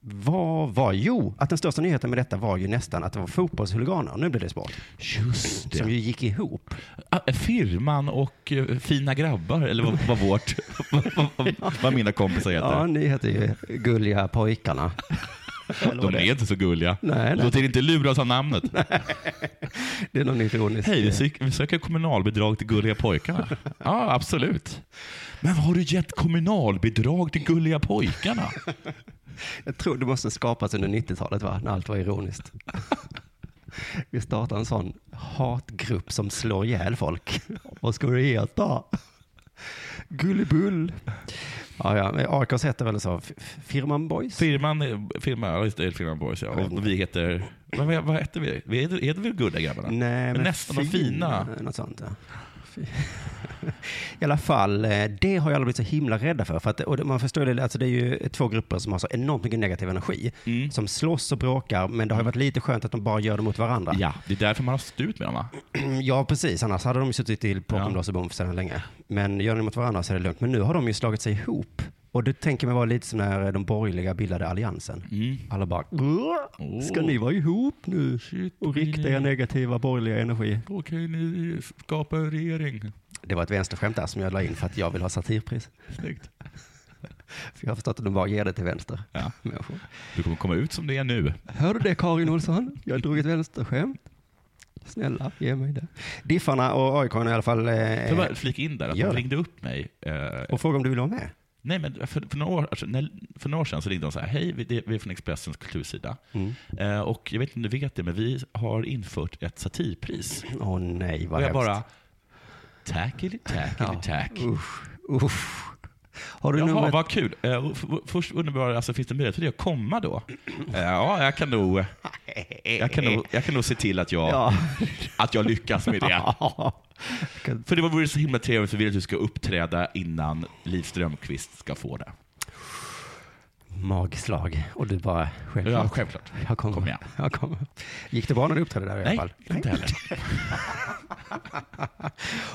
Speaker 3: Vad var, jo, att den största nyheten med detta var ju nästan att det var fotbollshuliganer. Nu blir det sport.
Speaker 5: Just
Speaker 3: Som ju gick ihop.
Speaker 5: Ah, firman och eh, fina grabbar, eller vad, vad vårt, vad, vad, vad mina kompisar heter.
Speaker 3: Ja, ni heter ju Gulliga pojkarna.
Speaker 5: de är inte så gulliga.
Speaker 3: Nej, nej.
Speaker 5: Låt er inte luras av namnet.
Speaker 3: Det är någon ironisk...
Speaker 5: Hej, vi söker, vi söker kommunalbidrag till gulliga pojkarna. Ja, absolut. Men har du gett kommunalbidrag till gulliga pojkarna?
Speaker 3: Jag tror det måste skapas under 90-talet, va? När allt var ironiskt. Vi startar en sån hatgrupp som slår ihjäl folk. Vad ska det heta? Gullibull. Ja, ja. men AIKs heter väl så? F- F- Firman Boys?
Speaker 5: Firman, firman, ja, just det, firman Boys, ja. Och vi heter... Vad, vad heter vi? Vi heter, heter vi Gulliga grabbarna?
Speaker 3: Nej, men
Speaker 5: Nästan de fina.
Speaker 3: Något sånt, ja. Fi- I alla fall, eh, det har jag aldrig blivit så himla rädda för. för att, och det- man förstår det, alltså det är ju två grupper som har så enormt mycket negativ energi.
Speaker 5: Mm.
Speaker 3: Som slåss och bråkar, men det har ju varit lite skönt att de bara gör det mot varandra.
Speaker 5: Ja, det är därför man har stått ut med dem, va?
Speaker 3: Ja, precis. Annars hade de ju suttit i bakom lås och bom för sedan länge. Men gör ni mot varandra så är det lugnt. Men nu har de ju slagit sig ihop. Och det tänker man vara lite som när de borgerliga bildade alliansen.
Speaker 5: Mm.
Speaker 3: Alla bara, "Åh, ska ni vara ihop nu och rikta er negativa borgerliga energi?
Speaker 5: Då kan ju ni skapa en regering.
Speaker 3: Det var ett vänsterskämt där som jag la in för att jag vill ha satirpris.
Speaker 5: Snyggt.
Speaker 3: För jag har förstått att de bara ger det till vänster.
Speaker 5: Ja.
Speaker 3: människor.
Speaker 5: Du kommer komma ut som det är nu.
Speaker 3: Hör du det Karin Olsson? Jag drog ett vänsterskämt. Snälla, ge mig det. Diffarna och AIK i alla fall.
Speaker 5: Får jag
Speaker 3: Eh,
Speaker 5: bara flika in där? Att
Speaker 3: Gör
Speaker 5: de
Speaker 3: det.
Speaker 5: ringde upp mig. Eh,
Speaker 3: och fråga om du vill vara med.
Speaker 5: Nej, men för, för, några år, alltså, när, för några år sedan så ringde de så här, hej, vi, det, vi är från Expressens kultursida.
Speaker 3: Mm.
Speaker 5: Eh, och jag vet inte om du vet det, men vi har infört ett satirpris.
Speaker 3: Åh nej, vad
Speaker 5: Och jag
Speaker 3: hemskt.
Speaker 5: bara, tack eller tack eller tack.
Speaker 3: Usch, usch. Har du
Speaker 5: Jaha,
Speaker 3: numret?
Speaker 5: vad kul. Eh, och f- först undrade jag, alltså, finns det möjlighet för dig att komma då? Eh, ja, jag kan, nog, jag, kan nog, jag kan nog se till att jag,
Speaker 3: Ja.
Speaker 5: att jag lyckas med det.
Speaker 3: Kan-
Speaker 5: För det vore så himla trevligt för vi vill att du ska uppträda innan Liv Strömquist ska få det.
Speaker 3: Magslag. Och du bara, självklart.
Speaker 5: Ja, självklart.
Speaker 3: Jag kommer.
Speaker 5: Kom igen.
Speaker 3: Jag kommer. Gick det bra när du uppträdde där i alla
Speaker 5: Nej,
Speaker 3: fall?
Speaker 5: inte heller.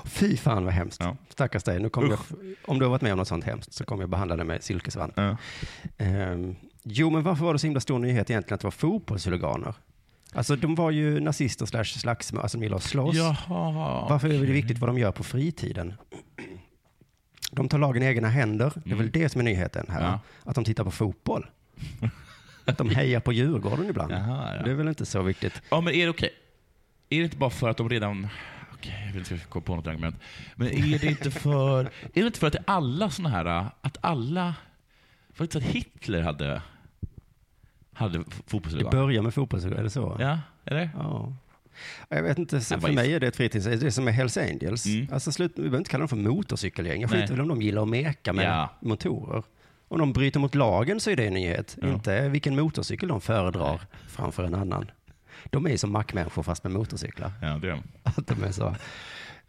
Speaker 3: Fy fan vad hemskt.
Speaker 5: Ja.
Speaker 3: Stackars dig. Nu kommer jag, om du har varit med om något sånt hemskt så kommer jag behandla dig med silkesvant.
Speaker 5: Ja.
Speaker 3: Ehm, jo, men varför var det så himla stor nyhet egentligen att det var fotbollshuliganer? Alltså de var ju nazister slash slagsmål, alltså de gillar att slåss.
Speaker 5: Jaha.
Speaker 3: Varför är det viktigt vad de gör på fritiden? De tar lagen i egna händer. Det är väl det som är nyheten här.
Speaker 5: Mm. Ja.
Speaker 3: Att de tittar på fotboll. Att de hejar på Djurgården ibland.
Speaker 5: Jaha, ja.
Speaker 3: Det är väl inte så viktigt.
Speaker 5: Ja, men är det okej? Är det inte bara för att de redan... Okej, jag vill inte komma på något argument. Men är det inte för... Är det inte för att det är alla såna här... Att alla... Var det inte så att Hitler hade... Hade
Speaker 3: Det
Speaker 5: fotbollsligan?
Speaker 3: börjar med fotboll, så är det så?
Speaker 5: Ja, eller?
Speaker 3: Ja. Jag vet inte, så
Speaker 5: Nej,
Speaker 3: för
Speaker 5: vad-
Speaker 3: mig är det ett fritids... Det som är Hells Angels.
Speaker 5: Mm.
Speaker 3: Alltså slut, vi behöver inte kalla dem för motorcykelgäng. Jag
Speaker 5: Nej.
Speaker 3: skiter väl om de gillar att meka med
Speaker 5: Ja.
Speaker 3: motorer. Om de bryter mot lagen så är det en nyhet. Inte vilken motorcykel de föredrar framför en annan. De är ju som mackmänniskor fast med motorcyklar.
Speaker 5: Ja, det är de.
Speaker 3: Att de är så...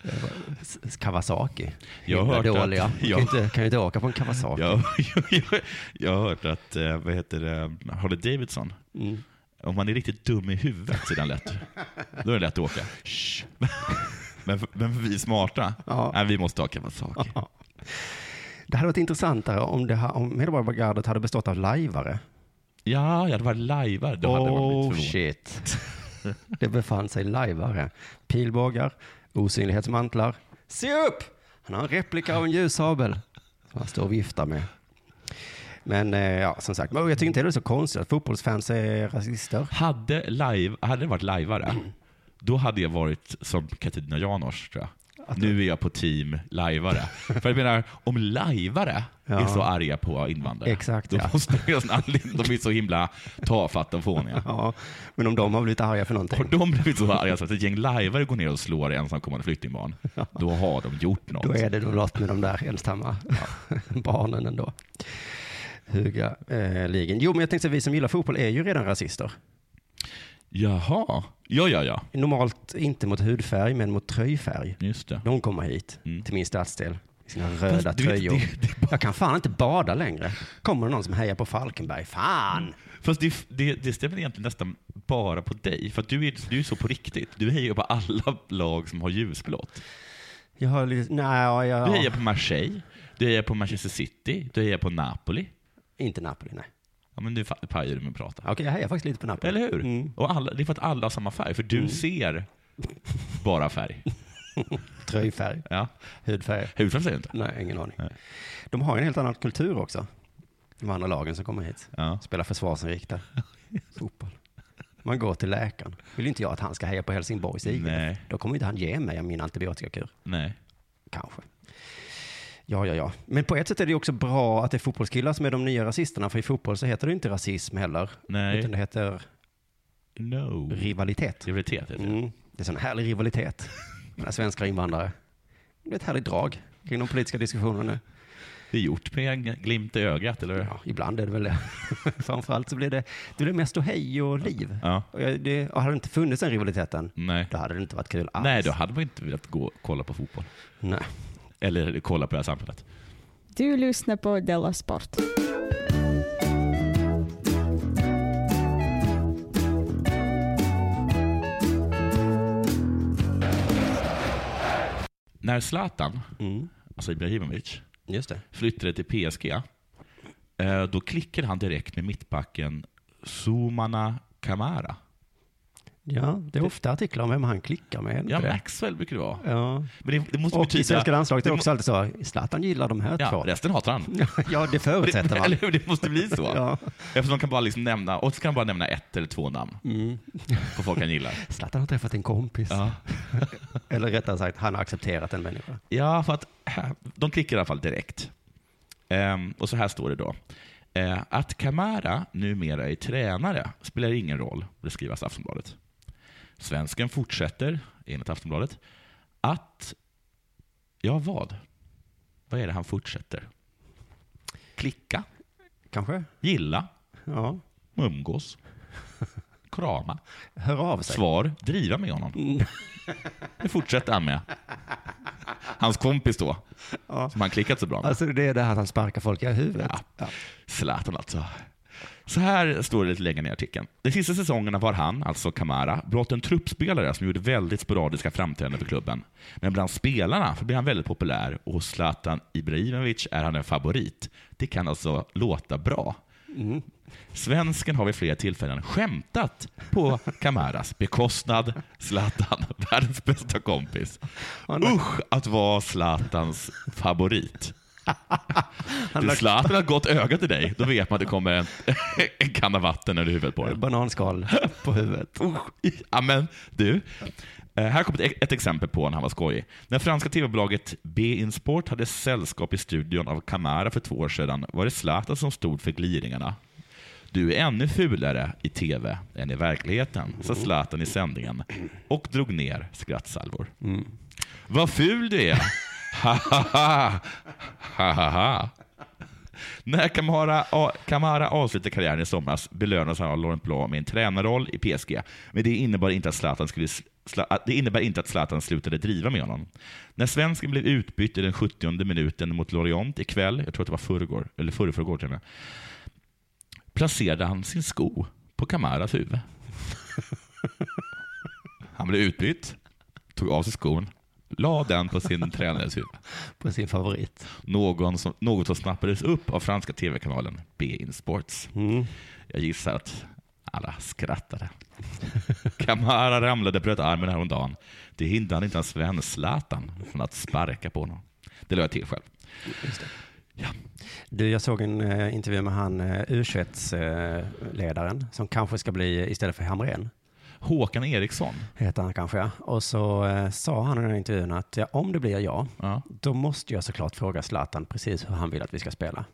Speaker 3: eh, s- s- Kawasaki.
Speaker 5: Jag
Speaker 3: Himla
Speaker 5: har hört att-
Speaker 3: dåliga. Att,
Speaker 5: ja.
Speaker 3: kan, ju inte, kan ju inte åka på en Kawasaki.
Speaker 5: Jag, jag, jag har hört att, eh, vad heter det, Harley Davidson,
Speaker 3: Mm.
Speaker 5: om man är riktigt dum i huvudet så är den lätt. Då är det lätt att åka. Shh. Men, men vi är smarta,
Speaker 3: Ja.
Speaker 5: Nej, vi måste ha Kawasaki.
Speaker 3: Det hade varit intressantare om, det, ha- om Medborgargardet hade bestått av lajvare.
Speaker 5: Ja, jag hade varit lajvare. Då hade man blivit
Speaker 3: Oh
Speaker 5: förvånad.
Speaker 3: shit. Det befann sig lajvare. Pilbågar, osynlighetsmantlar. Se upp! Han har en replika av en ljussabel som han står och viftar med. Men eh, ja, som sagt, men jag tycker inte det är så konstigt att fotbollsfans är rasister.
Speaker 5: Hade, live, hade det varit lajvare,
Speaker 3: Mm.
Speaker 5: då hade jag varit som Katarina Janouch tror jag. nu är jag på team lajvare. För jag menar, om lajvare
Speaker 3: Ja.
Speaker 5: är så arga på invandrare,
Speaker 3: Exakt,
Speaker 5: då
Speaker 3: ja.
Speaker 5: måste det finnas en anledning. De är så himla tafatta och fåniga.
Speaker 3: Ja, men om de har blivit arga för någonting,
Speaker 5: Har de blivit så arga så att ett gäng lajvare går ner och slår ensamkommande flyktingbarn, då har de gjort något.
Speaker 3: då är det nog något med de där ensamma barnen ändå. Huga eh, ligen. Jo, men jag tänkte att vi som gillar fotboll är ju redan rasister.
Speaker 5: Jaha. Ja, ja, ja.
Speaker 3: Normalt inte mot hudfärg, men mot tröjfärg.
Speaker 5: Just det.
Speaker 3: De kommer hit
Speaker 5: Mm.
Speaker 3: till min stadsdel i sina röda
Speaker 5: du vet,
Speaker 3: tröjor.
Speaker 5: det-
Speaker 3: Jag kan fan inte bada längre. Kommer det någon som hejar på Falkenberg? Fan!
Speaker 5: Fast det, det, det stämmer egentligen nästan bara på dig, för att du är, du är så på riktigt. Du hejar på alla lag som har ljusblått.
Speaker 3: Jag har lite... Nej, ja, jag...
Speaker 5: Du hejar på Marseille, du hejar på Manchester City, du hejar på Napoli.
Speaker 3: Inte Napoli, nej.
Speaker 5: Ja, men nu fa- pajar du med att prata.
Speaker 3: Okej, jag hejar faktiskt lite på Napoli.
Speaker 5: Eller hur?
Speaker 3: Mm.
Speaker 5: Och alla, det är för att alla har samma färg, för du ser bara färg.
Speaker 3: Tröjfärg,
Speaker 5: Ja.
Speaker 3: hudfärg.
Speaker 5: Hudfärg säger du inte.
Speaker 3: Nej, ingen aning.
Speaker 5: Nej.
Speaker 3: De har ju en helt annan kultur också. De andra lagen som kommer hit.
Speaker 5: Ja.
Speaker 3: Spelar försvarsinriktad fotboll. Man går till läkaren. Vill inte jag att han ska heja på Helsingborgs IF.
Speaker 5: Nej.
Speaker 3: Då kommer inte han ge mig min antibiotikakur.
Speaker 5: Nej.
Speaker 3: Kanske. Ja, ja, ja. Men på ett sätt är det ju också bra att det är fotbollskillar som är de nya rasisterna, för i fotboll så heter det ju inte rasism heller,
Speaker 5: Nej.
Speaker 3: utan det heter
Speaker 5: No.
Speaker 3: rivalitet.
Speaker 5: Rivalitet heter det.
Speaker 3: Mm. Det är sån härlig rivalitet mellan svenskar och invandrare. Det är ett härligt drag kring de politiska diskussionerna nu.
Speaker 5: Det är gjort med en glimt i ögat, eller hur?
Speaker 3: Ja, ibland är det väl det. Framförallt så blir det, det blir mest hej och liv.
Speaker 5: Ja.
Speaker 3: Och jag, det, och hade det inte funnits den rivaliteten,
Speaker 5: Nej.
Speaker 3: då hade det inte varit kul alls.
Speaker 5: Nej, då hade man inte velat gå kolla på fotboll.
Speaker 3: Nej.
Speaker 5: Eller kolla på det här samhället.
Speaker 2: Du lyssnar på Della Sport.
Speaker 5: När Zlatan,
Speaker 3: Mm.
Speaker 5: alltså Ibrahimovic,
Speaker 3: Just det.
Speaker 5: flyttade till PSG, eh, då klickade han direkt med mittbacken Sumana Kamara.
Speaker 3: Ja, det är ofta artiklar om vem han klickar med. är det inte
Speaker 5: Ja,
Speaker 3: det?
Speaker 5: Maxwell brukar det vara.
Speaker 3: ja.
Speaker 5: Men det, det måste
Speaker 3: Och
Speaker 5: betyda...
Speaker 3: i svenska landslaget är
Speaker 5: det
Speaker 3: det
Speaker 5: må-
Speaker 3: också alltid så. Zlatan gillar de här
Speaker 5: Ja,
Speaker 3: två.
Speaker 5: resten hatar han.
Speaker 3: ja, det förutsätter man.
Speaker 5: Eller hur? Det måste bli så.
Speaker 3: Ja.
Speaker 5: Eftersom de kan bara liksom nämna, och så kan de bara nämna ett eller två namn på folk han gillar.
Speaker 3: Mm. Zlatan har träffat en kompis.
Speaker 5: Ja.
Speaker 3: Eller rättare sagt, han har accepterat en människa.
Speaker 5: Ja, för att här- de klickar i alla fall direkt. Ehm, och så här står det då. Eh, att Kamara numera är tränare spelar ingen roll, det skrivs i Aftonbladet. Svensken fortsätter, enligt Aftonbladet, att... Ja, vad? Vad är det han fortsätter? Klicka,
Speaker 3: Kanske?
Speaker 5: gilla,
Speaker 3: Ja.
Speaker 5: umgås, krama.
Speaker 3: Hör av sig.
Speaker 5: Svar, driva med honom. Det fortsätter han med. Hans kompis då, som han klickat så bra med.
Speaker 3: Alltså det är det här att han sparkar folk i huvudet.
Speaker 5: Ja. Zlatan alltså. Så här står det lite längre ner i artikeln. De sista säsongerna var han, alltså Kamara, blott en truppspelare som gjorde väldigt sporadiska framträdanden för klubben. Men bland spelarna blev han väldigt populär och hos Zlatan Ibrahimovic är han en favorit. Det kan alltså låta bra. Svensken har vid flera tillfällen skämtat på Kamaras bekostnad. Zlatan, världens bästa kompis. Usch att vara Zlatans favorit.
Speaker 3: Han
Speaker 5: Du,
Speaker 3: lagt
Speaker 5: Zlatan har ett gott öga till dig. Då vet man att det kommer en, en kanna vatten över huvudet på dig.
Speaker 3: bananskal på huvudet.
Speaker 5: Usch, i- Amen. Du, eh, här kommer ett, ett exempel på när han var skojig. När franska tv-bolaget BeIN Sport hade sällskap i studion av Camara för två år sedan var det Zlatan som stod för gliringarna. Du är ännu fulare i tv än i verkligheten, sa Zlatan i sändningen och drog ner skrattsalvor. Vad ful du är! Ha, ha, ha. ha, ha, ha. När Kamara, A, Kamara avslutade karriären i somras belönades han av Laurent Blanc med en tränarroll i PSG. Men det innebar inte att Zlatan, skulle, sla, att- det innebär inte att Zlatan slutade driva med honom. När svensken blev utbytt i den 70 minuten mot Lorient ikväll, jag tror att det var förrgår, eller förrförrgår till och med, placerade han sin sko på Kamaras huvud. Han blev utbytt, tog av sig skon, la den på sin tränares huvud
Speaker 3: På sin favorit.
Speaker 5: någon som, något som snappades upp av franska tv-kanalen BeIN Sports. Jag gissar att alla skrattade. Kamara ramlade och bröt armen häromdagen. Det hindrade inte hans vän Zlatan från att sparka på honom. Det lade jag till själv.
Speaker 3: Du, jag såg en eh, intervju med han eh, U21-ledaren som kanske ska bli, eh, istället för Hamrén,
Speaker 5: Håkan Eriksson.
Speaker 3: heter han kanske. ja. Och så eh, sa han i den här intervjun att ja, om det blir jag,
Speaker 5: Ja.
Speaker 3: då måste jag såklart fråga Zlatan precis hur han vill att vi ska spela.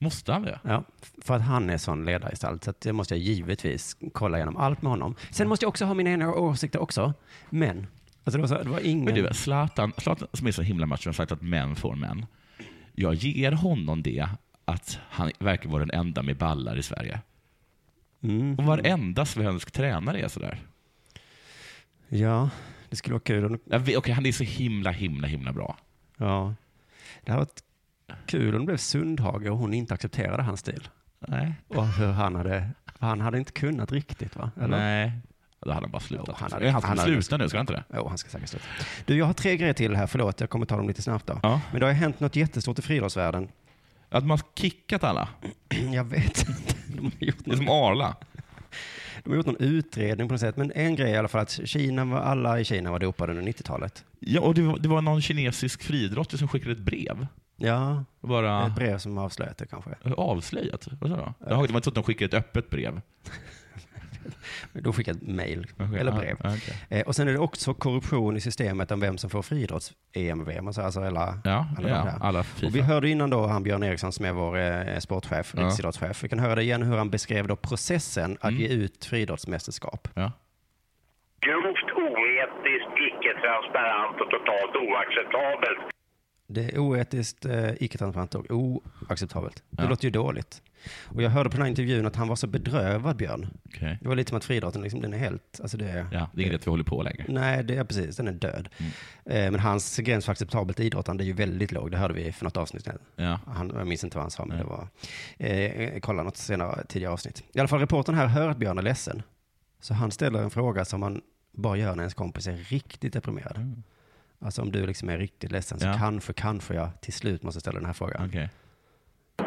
Speaker 5: Måste han det?
Speaker 3: Ja, för att han är sån ledargestalt så att det måste jag givetvis kolla igenom allt med honom. Sen måste jag också ha mina egna åsikter också. Men, alltså det var, så, det var ingen...
Speaker 5: Men du, Zlatan, Zlatan som är så himla macho, har sagt att män får män. Jag ger honom det att han verkar vara den enda med ballar i Sverige. Och varenda svensk tränare är sådär.
Speaker 3: Ja, det skulle vara kul om det...
Speaker 5: Jag vet- Okej, han är så himla, himla, himla bra.
Speaker 3: Ja. Det hade varit kul om det blev Sundhage och hon inte accepterade hans stil.
Speaker 5: Nej.
Speaker 3: Och hur han hade... Han hade inte kunnat riktigt va? Eller?
Speaker 5: Nej. Då hade han bara slutat.
Speaker 3: Jo, han
Speaker 5: han
Speaker 3: hade-
Speaker 5: är han som
Speaker 3: han
Speaker 5: han
Speaker 3: hade-
Speaker 5: slutar nu, ska han inte det?
Speaker 3: Jo, han ska säkert sluta. Du, jag har tre grejer till här. Förlåt, jag kommer ta dem lite snabbt då.
Speaker 5: Ja.
Speaker 3: Men det har ju hänt något jättestort i friidrottsvärlden.
Speaker 5: Att man har kickat alla.
Speaker 3: Jag vet inte. De har gjort
Speaker 5: Det är som Arla.
Speaker 3: De har gjort någon utredning på något sätt, men en grej i alla fall att Kina var, alla i Kina var dopade under 90-talet.
Speaker 5: Ja, och det var, det var någon kinesisk friidrottare som skickade ett brev.
Speaker 3: Ja,
Speaker 5: Och Bara
Speaker 3: ett brev som avslöjat det kanske.
Speaker 5: avslöjat. Vad sa jag? Jaha, Det var inte så att de skickade ett öppet brev.
Speaker 3: Då skickade ett mejl,
Speaker 5: Okej,
Speaker 3: eller
Speaker 5: ja,
Speaker 3: brev.
Speaker 5: ja, okej.
Speaker 3: Eh, och sen är det också korruption i systemet om vem som får friidrotts-EM och VM, alltså, alltså alla,
Speaker 5: Ja,
Speaker 3: alla de
Speaker 5: ja,
Speaker 3: där.
Speaker 5: alla
Speaker 3: och vi
Speaker 5: FIFA.
Speaker 3: hörde innan då han Björn Eriksson som är vår eh, sportchef,
Speaker 5: Ja. Mm.
Speaker 3: riksidrottschef. Vi kan höra det igen hur han beskrev då processen att ge ut friidrottsmästerskap.
Speaker 5: Ja.
Speaker 4: Grovt oetiskt, icke-transparent och totalt oacceptabelt.
Speaker 3: Det är oetiskt, eh, icke-transparent och oacceptabelt. Det
Speaker 5: Ja.
Speaker 3: låter ju dåligt. Och jag hörde på den här intervjun att han var så bedrövad, Björn,
Speaker 5: Okej.
Speaker 3: Det var lite som att friidrotten, liksom, den är helt, alltså det är,
Speaker 5: ja, det är inget Mm. att vi håller på längre.
Speaker 3: nej det är precis, den är död. Eh, Men hans gräns för acceptabelt idrottande är ju väldigt låg, det hörde vi för något avsnitt. sedan.
Speaker 5: Ja.
Speaker 3: Han, jag minns inte vad han sa, men det var, eh, kolla något senare, tidigare avsnitt. I alla fall reportern här hör att Björn är ledsen. Så han ställer en fråga som man bara gör när ens kompis är riktigt deprimerad. Alltså om du liksom är riktigt ledsen så
Speaker 5: Mm. Ja.
Speaker 3: kanske, kanske jag till slut måste ställa den här frågan.
Speaker 5: Okej.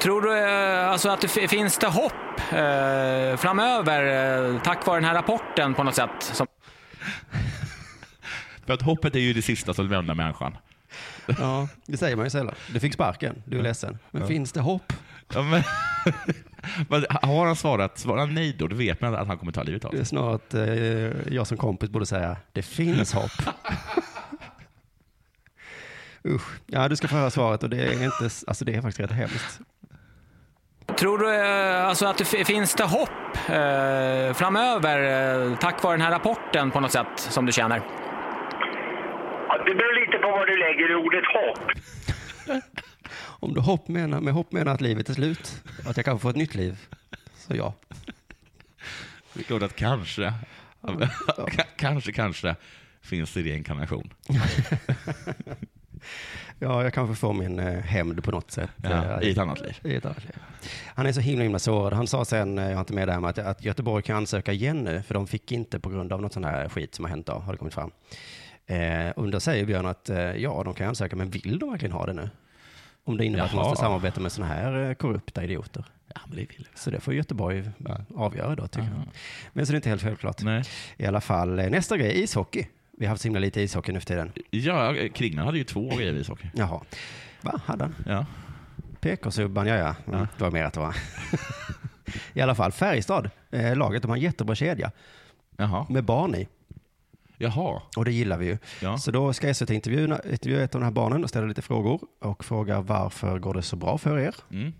Speaker 6: Tror du eh, alltså att det fi- finns det hopp eh, framöver eh, tack vare den här rapporten på något sätt? Som...
Speaker 5: För att hoppet är ju det sista som lämnar människan.
Speaker 3: Ja, det säger man ju sällan. Du fick sparken, du är ledsen. Men finns det hopp?
Speaker 5: Ja, men, Men har han svarat, svarar han nej då, då vet man att han kommer ta livet av
Speaker 3: Det är
Speaker 5: sig.
Speaker 3: snarare att eh, jag som kompis borde säga, det finns hopp. Usch. Ja, du ska få höra svaret och det är, inte, alltså det är faktiskt rätt hemskt.
Speaker 6: Tror du eh, alltså att det fi- finns det hopp eh, framöver eh, tack vare den här rapporten på något sätt som du känner?
Speaker 4: Ja, det beror lite på vad du lägger i ordet hopp.
Speaker 3: Om du hopp menar, med hopp menar att livet är slut, att jag kanske får ett nytt liv, så ja.
Speaker 5: Det är klart att kanske, K- kanske, kanske finns det reinkarnation.
Speaker 3: Ja, jag kanske får min eh, hämnd på något sätt.
Speaker 5: Ja,
Speaker 3: Eh,
Speaker 5: I ett annat liv.
Speaker 3: i ett annat liv. Han är så himla, himla sårad. Han sa sen, eh, jag har inte med det här med att, att Göteborg kan ansöka igen nu, för de fick inte på grund av något sån här skit som har hänt då, har det kommit fram. Eh, och då säger Björn att eh, ja, de kan ansöka, men vill de verkligen ha det nu? Om det innebär att man
Speaker 5: Jaha.
Speaker 3: måste samarbeta med sådana här eh, korrupta idioter.
Speaker 5: Ja, men det vill jag.
Speaker 3: Så det får Göteborg eh, avgöra då, tycker jag. Men så det är inte helt självklart.
Speaker 5: Nej.
Speaker 3: I alla fall, eh, nästa grej, ishockey. Vi har haft så himla lite ishockey nu för tiden.
Speaker 5: Ja, Kringlan hade ju två grejer i ishockey.
Speaker 3: Jaha. Va, hade han?
Speaker 5: Ja.
Speaker 3: PK-subban, ja ja. Mm, Det var mer att det var. I alla fall, Färjestad, eh, laget, de har en jättebra kedja
Speaker 5: Jaha.
Speaker 3: med barn i.
Speaker 5: Jaha.
Speaker 3: Och det gillar vi ju.
Speaker 5: Ja.
Speaker 3: Så då ska SVT intervjua, intervjua ett av de här barnen och ställa lite frågor och fråga varför går det så bra för er?
Speaker 5: Mm.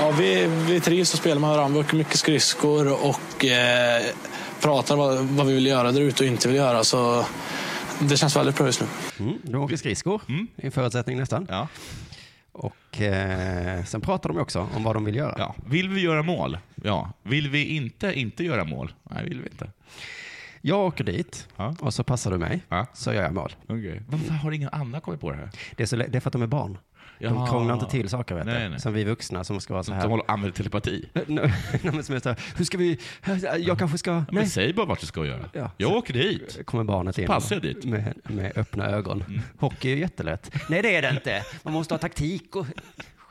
Speaker 7: Ja, vi, vi trivs att spela med varandra. Vi åker mycket skridskor och eh, pratar vad, vad vi vill göra där ute och inte vill göra. Så det känns väldigt bra just nu.
Speaker 3: Mm, de åker skridskor, det är en förutsättning nästan.
Speaker 5: Mm. Ja.
Speaker 3: Och eh, sen pratar de ju också om vad de vill göra.
Speaker 5: ja. Vill vi göra mål? Ja. Vill vi inte inte göra mål? Nej, vill vi inte.
Speaker 3: Jag åker dit
Speaker 5: Ja.
Speaker 3: och så passar du mig,
Speaker 5: Ja.
Speaker 3: så gör jag mål.
Speaker 5: Okay. Varför har ingen annan kommit på det här?
Speaker 3: Det är, så, lä- det är för att de är barn. De
Speaker 5: Ja.
Speaker 3: krånglar inte till saker, vet
Speaker 5: Nej,
Speaker 3: du.
Speaker 5: nej.
Speaker 3: Som vi vuxna som ska vara så
Speaker 5: Som
Speaker 3: här.
Speaker 5: håller använder telepati?
Speaker 3: Nej, men som är så här, hur ska vi, jag kanske ska,
Speaker 5: Men
Speaker 3: nej.
Speaker 5: säg bara vart du ska göra.
Speaker 3: Ja.
Speaker 5: Jag åker dit.
Speaker 3: Kommer barnet in
Speaker 5: Passar jag dit? Mm.
Speaker 3: Med, med öppna ögon. Hockey är ju jättelätt. Nej, det är det inte. Man måste ha taktik och skit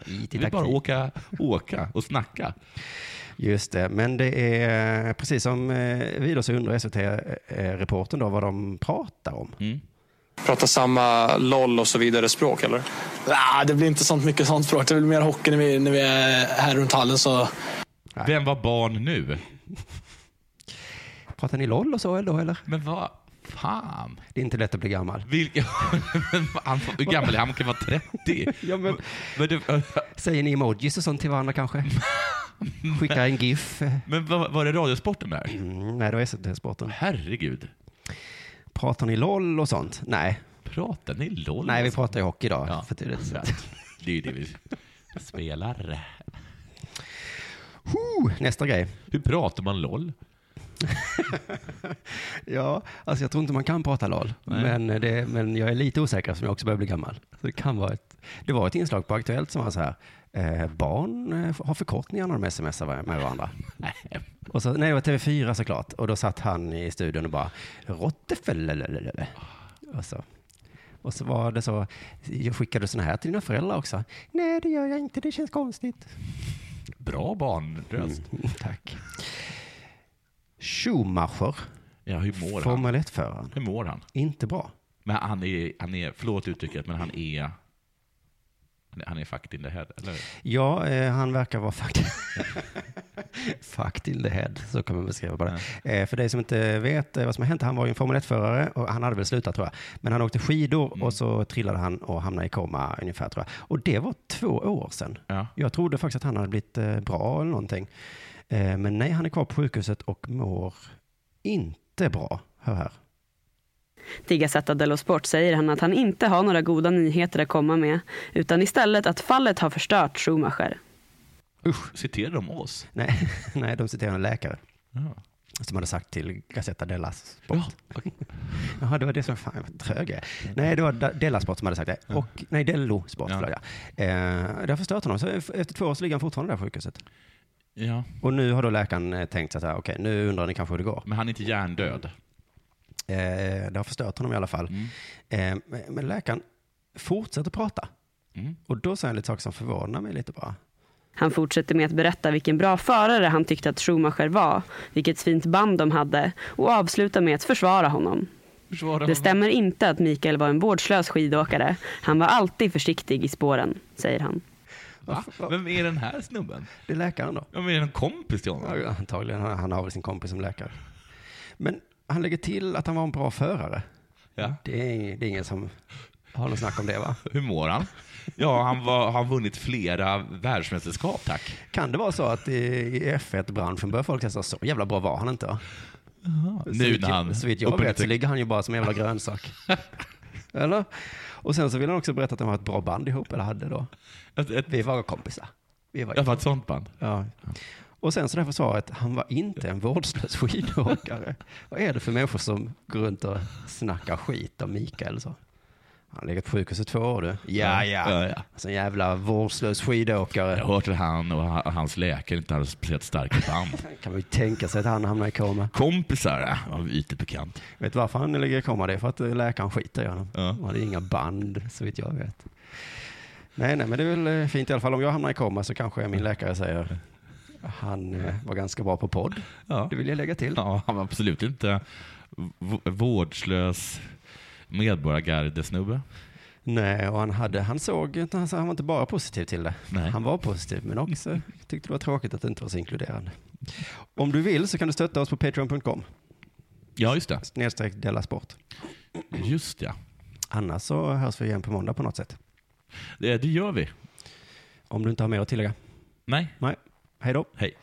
Speaker 3: i
Speaker 5: Vi
Speaker 3: taktik.
Speaker 5: bara åka, åka och snacka.
Speaker 3: Just det, men det är precis som eh, Vidar så undrar SVT-reporten eh, då vad de pratar om.
Speaker 7: Pratar samma LOL och så vidare språk, eller? Nej, det blir inte sånt mycket sånt språk. Det blir mer hockey när vi, när vi är här runt hallen. Så
Speaker 5: Vem var barn nu?
Speaker 3: Pratar ni LOL och så eller då eller?
Speaker 5: Men vad fan?
Speaker 3: Det är inte lätt att bli gammal.
Speaker 5: Vilka, han, hur gammal är han? Han kan vara 30.
Speaker 3: Ja, men-
Speaker 5: men, det,
Speaker 3: Säger ni emojis och sånt till varandra kanske? Skickar en GIF? eh.
Speaker 5: men vad- var det Radiosporten där?
Speaker 3: Mm, nej, det var SVT-sporten.
Speaker 5: Herregud.
Speaker 3: Pratar ni LOL och sånt? Nej,
Speaker 5: Pratar ni LOL?
Speaker 3: nej vi pratar ju hockey idag.
Speaker 5: Ja.
Speaker 3: För det är rätt
Speaker 5: Ja.
Speaker 3: sant.
Speaker 5: Det är ju det vi spelar.
Speaker 3: Huh, nästa grej.
Speaker 5: Hur pratar man LOL?
Speaker 3: Ja, alltså jag tror inte man kan prata LOL. Men, det, men jag är lite osäker som jag också börjar bli gammal. Så det, kan vara ett, det var ett inslag på Aktuellt som var så här. Eh, barn eh, har förkortningar när de smsar var- med varandra. och så, nej, det var TV4 såklart. Och då satt han i studion och bara råttefällelelelele. Och så. Och så var det så, jag skickade sådana här till dina föräldrar också. Nej, det gör jag inte, det känns konstigt.
Speaker 5: Bra barnröst.
Speaker 3: Mm, tack. Schumacher,
Speaker 5: Ja, hur mår han?
Speaker 3: Formel 1-föraren,
Speaker 5: Hur mår han?
Speaker 3: inte bra.
Speaker 5: Men han är, han är, förlåt uttrycket, men han är, han är, han är fucked in the head, eller hur?
Speaker 3: Ja, eh, han verkar vara fuck... fucked in the head, så kan man beskriva bara det. Eh, för dig som inte vet eh, vad som har hänt, han var ju en Formel 1-förare och han hade väl slutat tror jag. Men han åkte skidor och så trillade han och hamnade i koma ungefär tror jag. Och det var två år sedan.
Speaker 5: Ja.
Speaker 3: Jag trodde faktiskt att han hade blivit eh, bra eller någonting. Eh, men nej, han är kvar på sjukhuset och mår inte bra. Hör här.
Speaker 8: Till Gazzetta dello Sport säger han att han inte har några goda nyheter att komma med, utan istället att fallet har förstört Schumacher.
Speaker 5: Usch, citerar de oss?
Speaker 3: Nej, nej de citerar en läkare
Speaker 5: Ja.
Speaker 3: som hade sagt till Gazzetta della Sport.
Speaker 5: Ja. okej.
Speaker 3: Jaha, det var det som, fan vad trög jag är. Nej, det var Da- Della Sport som hade sagt det. Och, nej, Dello Sport,
Speaker 5: Mm. Ja.
Speaker 3: förlåt. Ja. Eh, det har förstört honom. Så efter två år så ligger han fortfarande där på sjukhuset.
Speaker 5: ja.
Speaker 3: Och nu har då läkaren eh, tänkt så här, okej, nu undrar ni kanske hur det går.
Speaker 5: Men han är inte hjärndöd.
Speaker 3: Eh, det har förstört honom i alla fall.
Speaker 5: Mm.
Speaker 3: Eh, men- men läkaren fortsätter prata.
Speaker 5: Mm.
Speaker 3: Och då säger han lite saker som förvånar mig lite bara.
Speaker 8: Han fortsätter med att berätta vilken bra förare han tyckte att Schumacher var, vilket fint band de hade och avslutar med att försvara honom.
Speaker 5: Försvara
Speaker 8: Det
Speaker 5: honom.
Speaker 8: stämmer inte att Mikael var en vårdslös skidåkare. Han var alltid försiktig i spåren, säger han.
Speaker 5: Va? Vem är den här snubben?
Speaker 3: Det är läkaren då.
Speaker 5: Ja, men är det en kompis till honom?
Speaker 3: Ja, Antagligen, han han har väl sin kompis som läkare. Men han lägger till att han var en bra förare.
Speaker 5: Ja.
Speaker 3: Det är, ing- det är ingen som har något snack om det va?
Speaker 5: Hur mår han? Ja, han var, har vunnit flera världsmästerskap, tack.
Speaker 3: Kan det vara så att i i F1-branschen börjar folk säga så jävla bra var han inte? va? Så
Speaker 5: Nu
Speaker 3: vitt
Speaker 5: när han...
Speaker 3: jag- så vitt jag vet så ligger han ju bara som en jävla grönsak. Eller? Och sen så vill han också berätta att de har ett bra band ihop, eller hade då.
Speaker 5: Ett, ett,
Speaker 3: Vi var kompisar. Vi var...
Speaker 5: jag var ett sånt band.
Speaker 3: Ja. Och sen så det här försvaret, han var inte en vårdslös skidåkare. Vad är det för människor som går runt och snackar skit om Mikael så? Han har legat på sjukhus i två år du. Ja,
Speaker 5: Ja,
Speaker 3: ja.
Speaker 5: ja.
Speaker 3: Som jävla vårdslös skidåkare.
Speaker 5: Jag har hört att han och ha- hans läkare inte hade speciellt starka band.
Speaker 3: Kan man ju tänka sig att han hamnar i koma.
Speaker 5: Kompisar, ja, av ytligt bekant.
Speaker 3: Vet du varför han ligger i koma? Det är för att eh, läkaren skiter i honom.
Speaker 5: Ja.
Speaker 3: Han hade inga band, så vitt jag vet. Nej, nej, men det är väl eh, fint i alla fall. Om jag hamnar i koma så kanske min läkare säger han eh, var ganska bra på podd.
Speaker 5: Ja.
Speaker 3: Det vill jag lägga till.
Speaker 5: Ja, han var absolut inte v- vårdslös medborgargardesnubbe.
Speaker 3: Nej, och han, hade, han såg inte, han, han var inte bara positiv till det.
Speaker 5: Nej.
Speaker 3: Han var positiv, men också tyckte det var tråkigt att det inte var så inkluderande. Om du vill så kan du stötta oss på patreon.com,
Speaker 5: Ja, just det.
Speaker 3: snedstreck Della Sport.
Speaker 5: Just ja.
Speaker 3: Annars så hörs vi igen på måndag på något sätt.
Speaker 5: Det, det gör vi.
Speaker 3: Om du inte har mer att tillägga.
Speaker 5: Nej,
Speaker 3: Nej, hej då.
Speaker 5: hej.